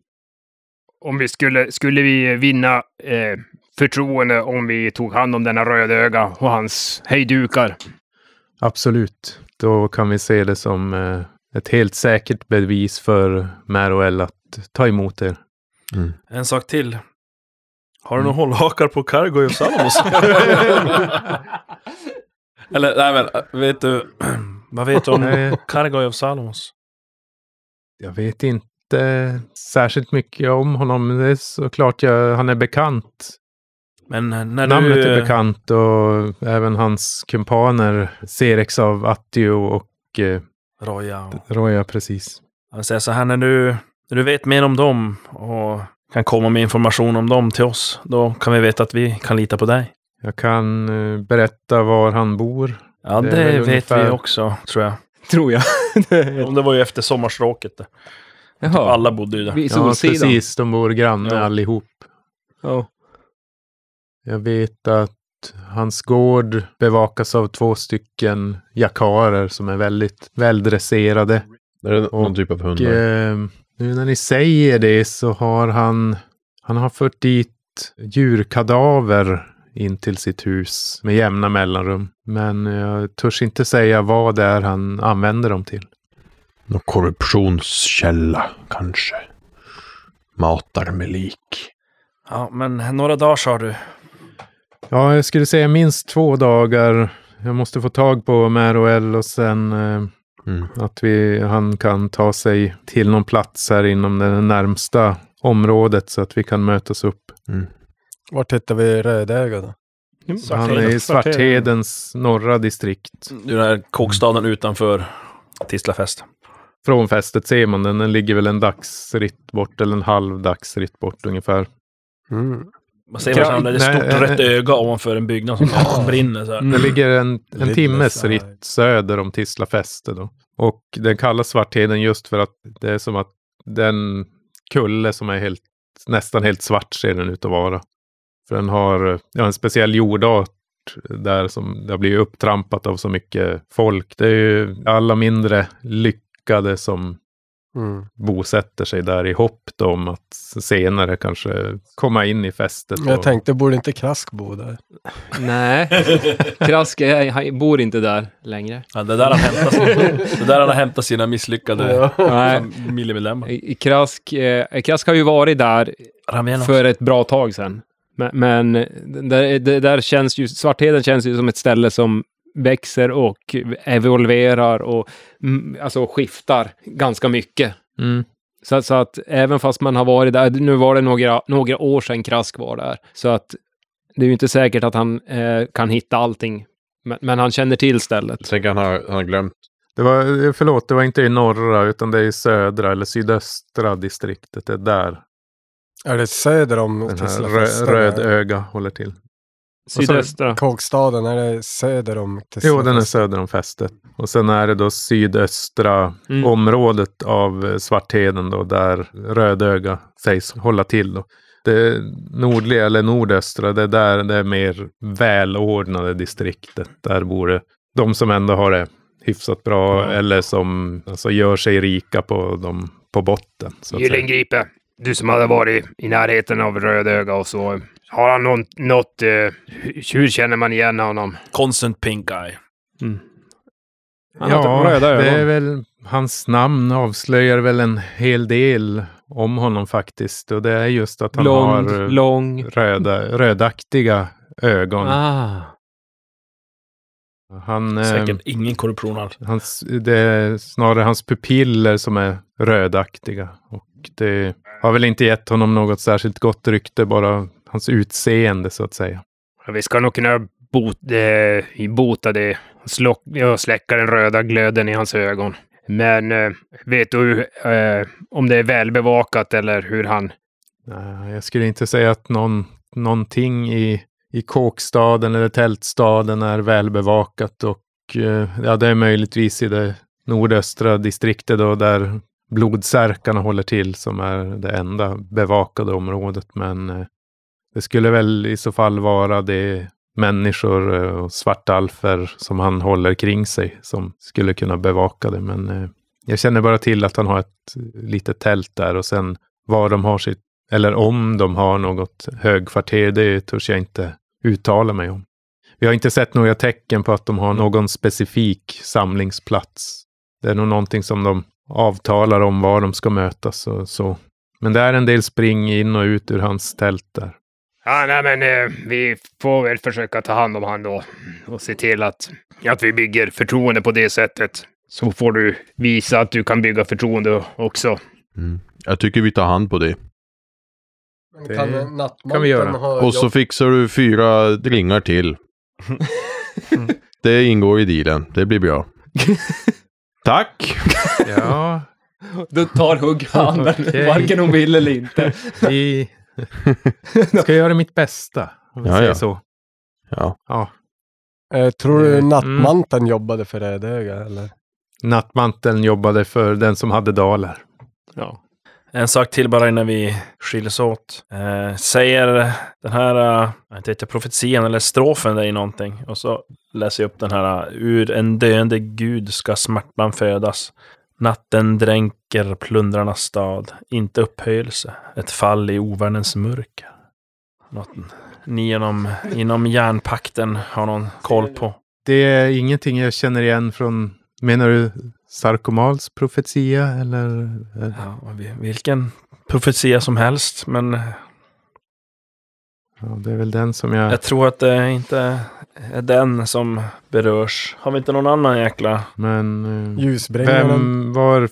Speaker 10: om vi skulle, skulle vi vinna eh, förtroende om vi tog hand om denna rödöga och hans hejdukar.
Speaker 7: Absolut. Då kan vi se det som eh, ett helt säkert bevis för Meroel att ta emot er.
Speaker 5: En sak till. Har
Speaker 7: Mm.
Speaker 5: du några hållhakar på Cargo i Salamos? Eller nej men, vet du, vad vet du om
Speaker 7: Nej.
Speaker 5: Kargoev Salomos?
Speaker 7: Jag vet inte särskilt mycket om honom. men Det är såklart jag, han är bekant.
Speaker 5: Men eh, när
Speaker 7: Namnet
Speaker 5: du...
Speaker 7: är bekant och även hans kumpaner Serex av Attio och eh,
Speaker 5: Roja.
Speaker 7: Roja, precis.
Speaker 5: Han säger så här, när du, när du vet mer om dem och kan komma med information om dem till oss, då kan vi veta att vi kan lita på dig.
Speaker 7: Jag kan eh, berätta var han bor.
Speaker 5: Ja, det,
Speaker 7: är väl
Speaker 5: vet vi
Speaker 7: ungefär-
Speaker 5: också, tror jag.
Speaker 6: Tror jag.
Speaker 5: Om det var ju efter sommarstråket. det. Typ
Speaker 7: Jaha.
Speaker 5: alla bodde ju där.
Speaker 7: Vid Ja, Solsidan. precis. De bor granne allihop.
Speaker 6: Ja.
Speaker 7: Jag vet att hans gård bevakas av två stycken jakarer som är väldigt väldresserade.
Speaker 11: Är det någon typ av hundar?
Speaker 7: eh, nu när ni säger det så har han, han har fört dit djurkadaver in till sitt hus med jämna mellanrum. Men jag törs inte säga vad det är han använder dem till.
Speaker 11: Någon korruptionskälla kanske. Matar med lik.
Speaker 5: Ja, men några dagar sa du.
Speaker 7: Ja, jag skulle säga minst två dagar. Jag måste få tag på Meroel och sen eh,
Speaker 11: Mm.
Speaker 7: att vi, han kan ta sig till någon plats här inom det närmsta området så att vi kan mötas upp.
Speaker 4: Vart hittar vi Rödöga då?
Speaker 7: Han är i Svarthedens norra distrikt.
Speaker 5: Den här kåkstaden utanför Tislafest.
Speaker 7: Från fästet ser man den. Den ligger väl en dagsritt bort eller en halv dagsritt bort ungefär.
Speaker 4: Mm,
Speaker 5: Man ser vad som är ett
Speaker 7: Nej,
Speaker 5: stort
Speaker 7: eh, Mm.
Speaker 5: rött öga ovanför en byggnad som brinner så här.
Speaker 7: Det ligger en, en timmes ritt söder om Tislafäste då. Och den kallas Svartheden just för att det är som att den kulle som är helt, nästan helt svart ser den ut att vara. För den har ja, en speciell jordart där som det har blivit upptrampat av så mycket folk. Det är ju alla mindre lyckade som
Speaker 4: Mm.
Speaker 7: bosätter sig där i hopp då om att senare kanske komma in i fästet.
Speaker 4: Men Jag
Speaker 7: och-
Speaker 4: tänkte, borde inte Krask bo där?
Speaker 16: Nej, Krask är, han bor inte där längre.
Speaker 5: Ja, det där han hämtar, det där han har hämtat sina misslyckade familjemedlemmar.
Speaker 6: I- i Krask, eh, Krask har ju varit där
Speaker 5: Ramenos.
Speaker 6: för ett bra tag sedan. Men, men det, det där känns ju, Svartheden känns ju som ett ställe som växer och evolverar och mm, alltså skiftar ganska mycket.
Speaker 7: Mm.
Speaker 6: Så, att- så att även fast man har varit där, nu var det några, några år sedan Krask var där, så att det är ju inte säkert att han eh, kan hitta allting. Men, men han känner till stället. Jag
Speaker 11: tänker han har, han har glömt.
Speaker 7: Det var, eh, förlåt, det var inte i norra utan det är i södra eller sydöstra distriktet. Det är där
Speaker 4: Är det söder om
Speaker 7: den här rö,
Speaker 4: Tislafäste?
Speaker 7: Rödöga håller till.
Speaker 4: Sydöstra. Kåkstaden, är det söder om Tislafäste?
Speaker 7: Jo, den är söder om fästet. Och sen är det då sydöstra
Speaker 4: Mm.
Speaker 7: området av eh, Svartheden då, där Rödöga sägs hålla till. Då. Det nordliga eller nordöstra, det är där det är mer välordnade distriktet. Där bor det de som ändå har det hyfsat bra eller som alltså, gör sig rika på, dem, på botten. Så att säga.
Speaker 10: Gyllengripe, du som hade varit i närheten av Rödöga och så. Har han någon, något... Eh, hur- hur känner man igen honom?
Speaker 5: Constant pink eye.
Speaker 7: Ja, det är väl, hans namn avslöjar väl en hel del om honom faktiskt. Och det är just att han
Speaker 6: Blond,
Speaker 7: har eh,
Speaker 6: lång.
Speaker 7: Röda, rödaktiga ögon.
Speaker 6: Ah.
Speaker 7: Han, eh,
Speaker 5: Säkert ingen korruption alls.
Speaker 7: hans, det är snarare hans pupiller som är rödaktiga. Och det har väl inte gett honom något särskilt gott rykte, bara hans utseende så att säga.
Speaker 10: Vi ska nog kunna bot, eh, bota det. Slock, ja, släcka den röda glöden i hans ögon. Men eh, vet du eh, om det är välbevakat eller hur han...
Speaker 7: Nej, Jag skulle inte säga att någon, någonting i, i kåkstaden eller tältstaden är välbevakat och eh, ja, det är möjligtvis i det nordöstra distriktet då där blodsärkarna håller till som är det enda bevakade området. Men eh, det skulle väl i så fall vara det människor eh, och svartalfer som han håller kring sig som skulle kunna bevaka det. Men eh, jag känner bara till att han har ett litet tält där och sen var de har sitt Eller om de har något högkvarter, det törs jag inte uttala mig om. Vi har inte sett några tecken på att de har någon specifik samlingsplats. Det är nog någonting som de avtalar om var de ska mötas och så. Men det är en del spring in och ut ur hans tält där.
Speaker 10: Ja, nej, men eh, vi får väl försöka ta hand om han då och se till att, att vi bygger förtroende på det sättet. Så får du visa att du kan bygga förtroende också.
Speaker 11: Jag tycker vi tar hand på det.
Speaker 4: Men kan
Speaker 7: Det
Speaker 4: nattmaten
Speaker 7: kan vi göra.
Speaker 4: ha
Speaker 11: Och så
Speaker 4: jobb?
Speaker 11: fixar du fyra ringar till. Det ingår i dealen. Det blir bra. Tack!
Speaker 7: Ja.
Speaker 3: Då tar hugg handen,
Speaker 7: Okej.
Speaker 3: varken hon vill eller inte.
Speaker 7: Vi ska göra mitt bästa, om vi
Speaker 11: Ja,
Speaker 7: säger
Speaker 11: ja.
Speaker 7: så.
Speaker 11: Ja.
Speaker 7: ja.
Speaker 4: Eh, tror du
Speaker 7: Mm.
Speaker 4: nattmanteln jobbade för Rödöga eller?
Speaker 7: Nattmanteln jobbade för den som hade daler.
Speaker 5: En sak till bara innan vi skiljs åt. Eh, säger den här, eh, jag heter profetian eller strofen där i någonting. Och så läser jag upp den här. eh, Ur en döende gud ska smärtan födas. Natten dränker plundrarnas stad. Inte upphöjelse. Ett fall i ovärldens mörker. Något ni inom, inom järnpakten har någon koll på.
Speaker 7: Det är ingenting jag känner igen från, menar du Sarkomals profetia eller?
Speaker 5: Ja, vilken profetia som helst, men
Speaker 7: Ja, det är väl den som jag...
Speaker 5: Jag tror att det inte är den som berörs. Har vi inte någon annan jäkla?
Speaker 7: Men... eh,
Speaker 4: Ljusbringaren.
Speaker 7: Vem, var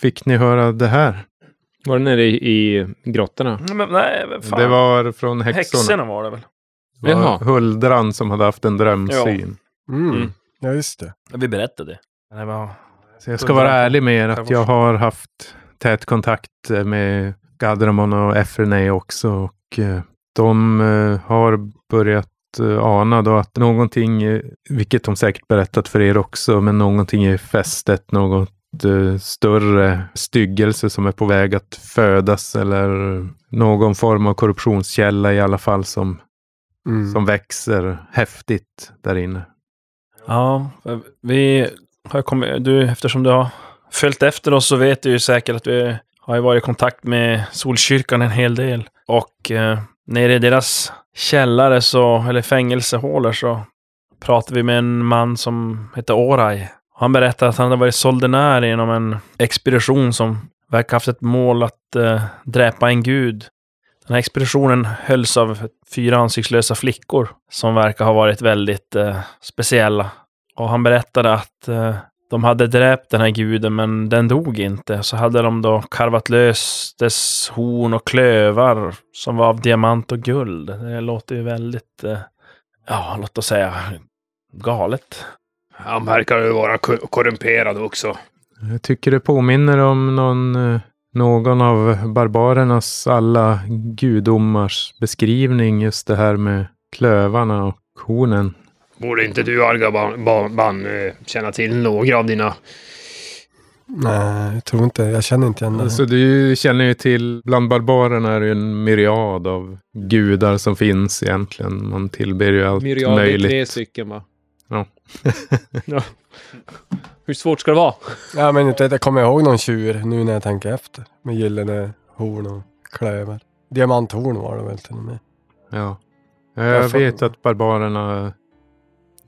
Speaker 7: fick ni höra det här? Var det nere i, i grottorna?
Speaker 5: Nej, men, nej, men fan.
Speaker 7: Mm. Det var från häxorna.
Speaker 5: Häxorna var det väl?
Speaker 7: Det
Speaker 5: Jaha.
Speaker 7: var Huldran som hade haft en drömsyn.
Speaker 4: Mm.
Speaker 5: Mm.
Speaker 4: Ja, just det.
Speaker 5: Vi berättade det. Det var...
Speaker 7: Så jag ska vara ärlig med er att jag har haft tät kontakt eh, med Gadramon och Efrenay också. Och eh, de eh, har börjat eh, ana då att någonting, eh, vilket de säkert berättat för er också, men någonting är fästet, något eh, större styggelse som är på väg att födas eller någon form av korruptionskälla i alla fall som,
Speaker 4: Mm.
Speaker 7: som växer häftigt där inne.
Speaker 5: Ja, vi har kommit, du, eftersom du har följt efter oss så vet du ju säkert att vi har ju varit i kontakt med Solkyrkan en hel del. Och eh, nere i deras källare, så, eller fängelsehålor, så pratade vi med en man som hette Oraj. Han berättade att han hade varit soldenär inom en expedition som verkar haft ett mål att eh, dräpa en gud. Den här expeditionen hölls av fyra ansiktslösa flickor som verkar ha varit väldigt eh, speciella. Och han berättade att eh, de hade dräpt den här guden, men den dog inte. Så hade de då karvat lös dess horn och klövar som var av diamant och guld. Det låter ju väldigt, eh, ja, låt oss säga galet.
Speaker 10: Han verkar ju vara ko- korrumperad också.
Speaker 7: Jag tycker det påminner om någon, eh, någon av barbarernas alla gudomars beskrivning, just det här med klövarna och hornen.
Speaker 10: Borde inte du, Argaban, ban, ban, eh, känna till några av dina...
Speaker 4: Nej, jag tror inte. Jag känner inte igen det.
Speaker 7: Alltså du känner ju till, bland barbarerna är det ju en myriad av gudar som finns egentligen. Man tillber ju allt
Speaker 3: Myriad det är
Speaker 7: möjligt.
Speaker 3: tre stycken va?
Speaker 7: Ja.
Speaker 3: Ja. Hur svårt ska det vara?
Speaker 4: Ja, men inte vet jag kommer ihåg någon tjur nu när jag tänker efter. Med gyllene horn och klöver. Diamanthorn var det väl till och med.
Speaker 7: Ja. Ja, Jag
Speaker 4: Därför-
Speaker 7: vet att barbarerna...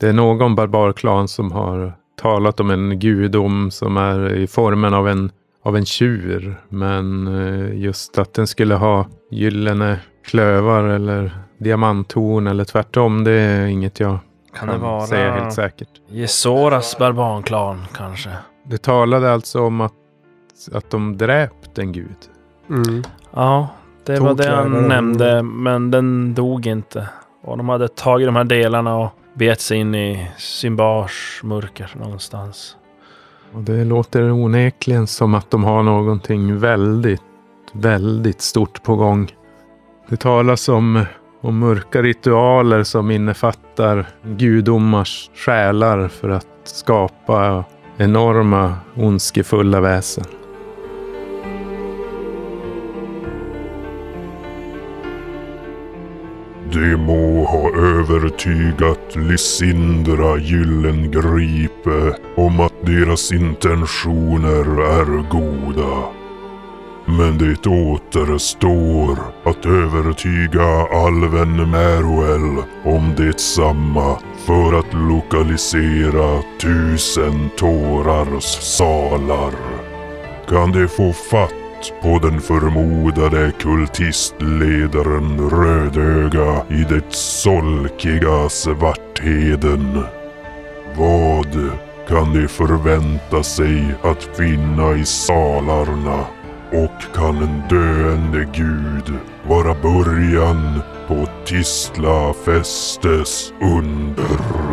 Speaker 7: Det är någon barbarklan som har talat om en gudom som är i formen av en, av en tjur. Men eh, just att den skulle ha gyllene klövar eller diamanthorn eller tvärtom, det är inget jag
Speaker 5: Kan det vara...
Speaker 7: säga helt säkert.
Speaker 5: Jesoras barbanklan kanske?
Speaker 7: Det talade alltså om att, att de dräpt en gud. Mm.
Speaker 5: Ja, det
Speaker 7: Tog
Speaker 5: var det han
Speaker 7: klövern.
Speaker 5: nämnde, men den dog inte. Och de hade tagit de här delarna och bet sig in i Symbars mörker någonstans.
Speaker 7: Och det låter onekligen som att de har någonting väldigt, väldigt stort på gång. Det talas om, om mörka ritualer som innefattar gudomars själar för att skapa enorma ondskefulla väsen.
Speaker 2: Det må ha övertygat Lysindra Gyllengripe om att deras intentioner är goda. Men det återstår att övertyga alven Meruel om detsamma för att lokalisera tusen tårars salar. Kan de få fatt på den förmodade kultistledaren Rödöga i det solkiga Svartheden? Vad kan de förvänta sig att finna i salarna? Och kan en döende gud vara början på Tisla Festes under?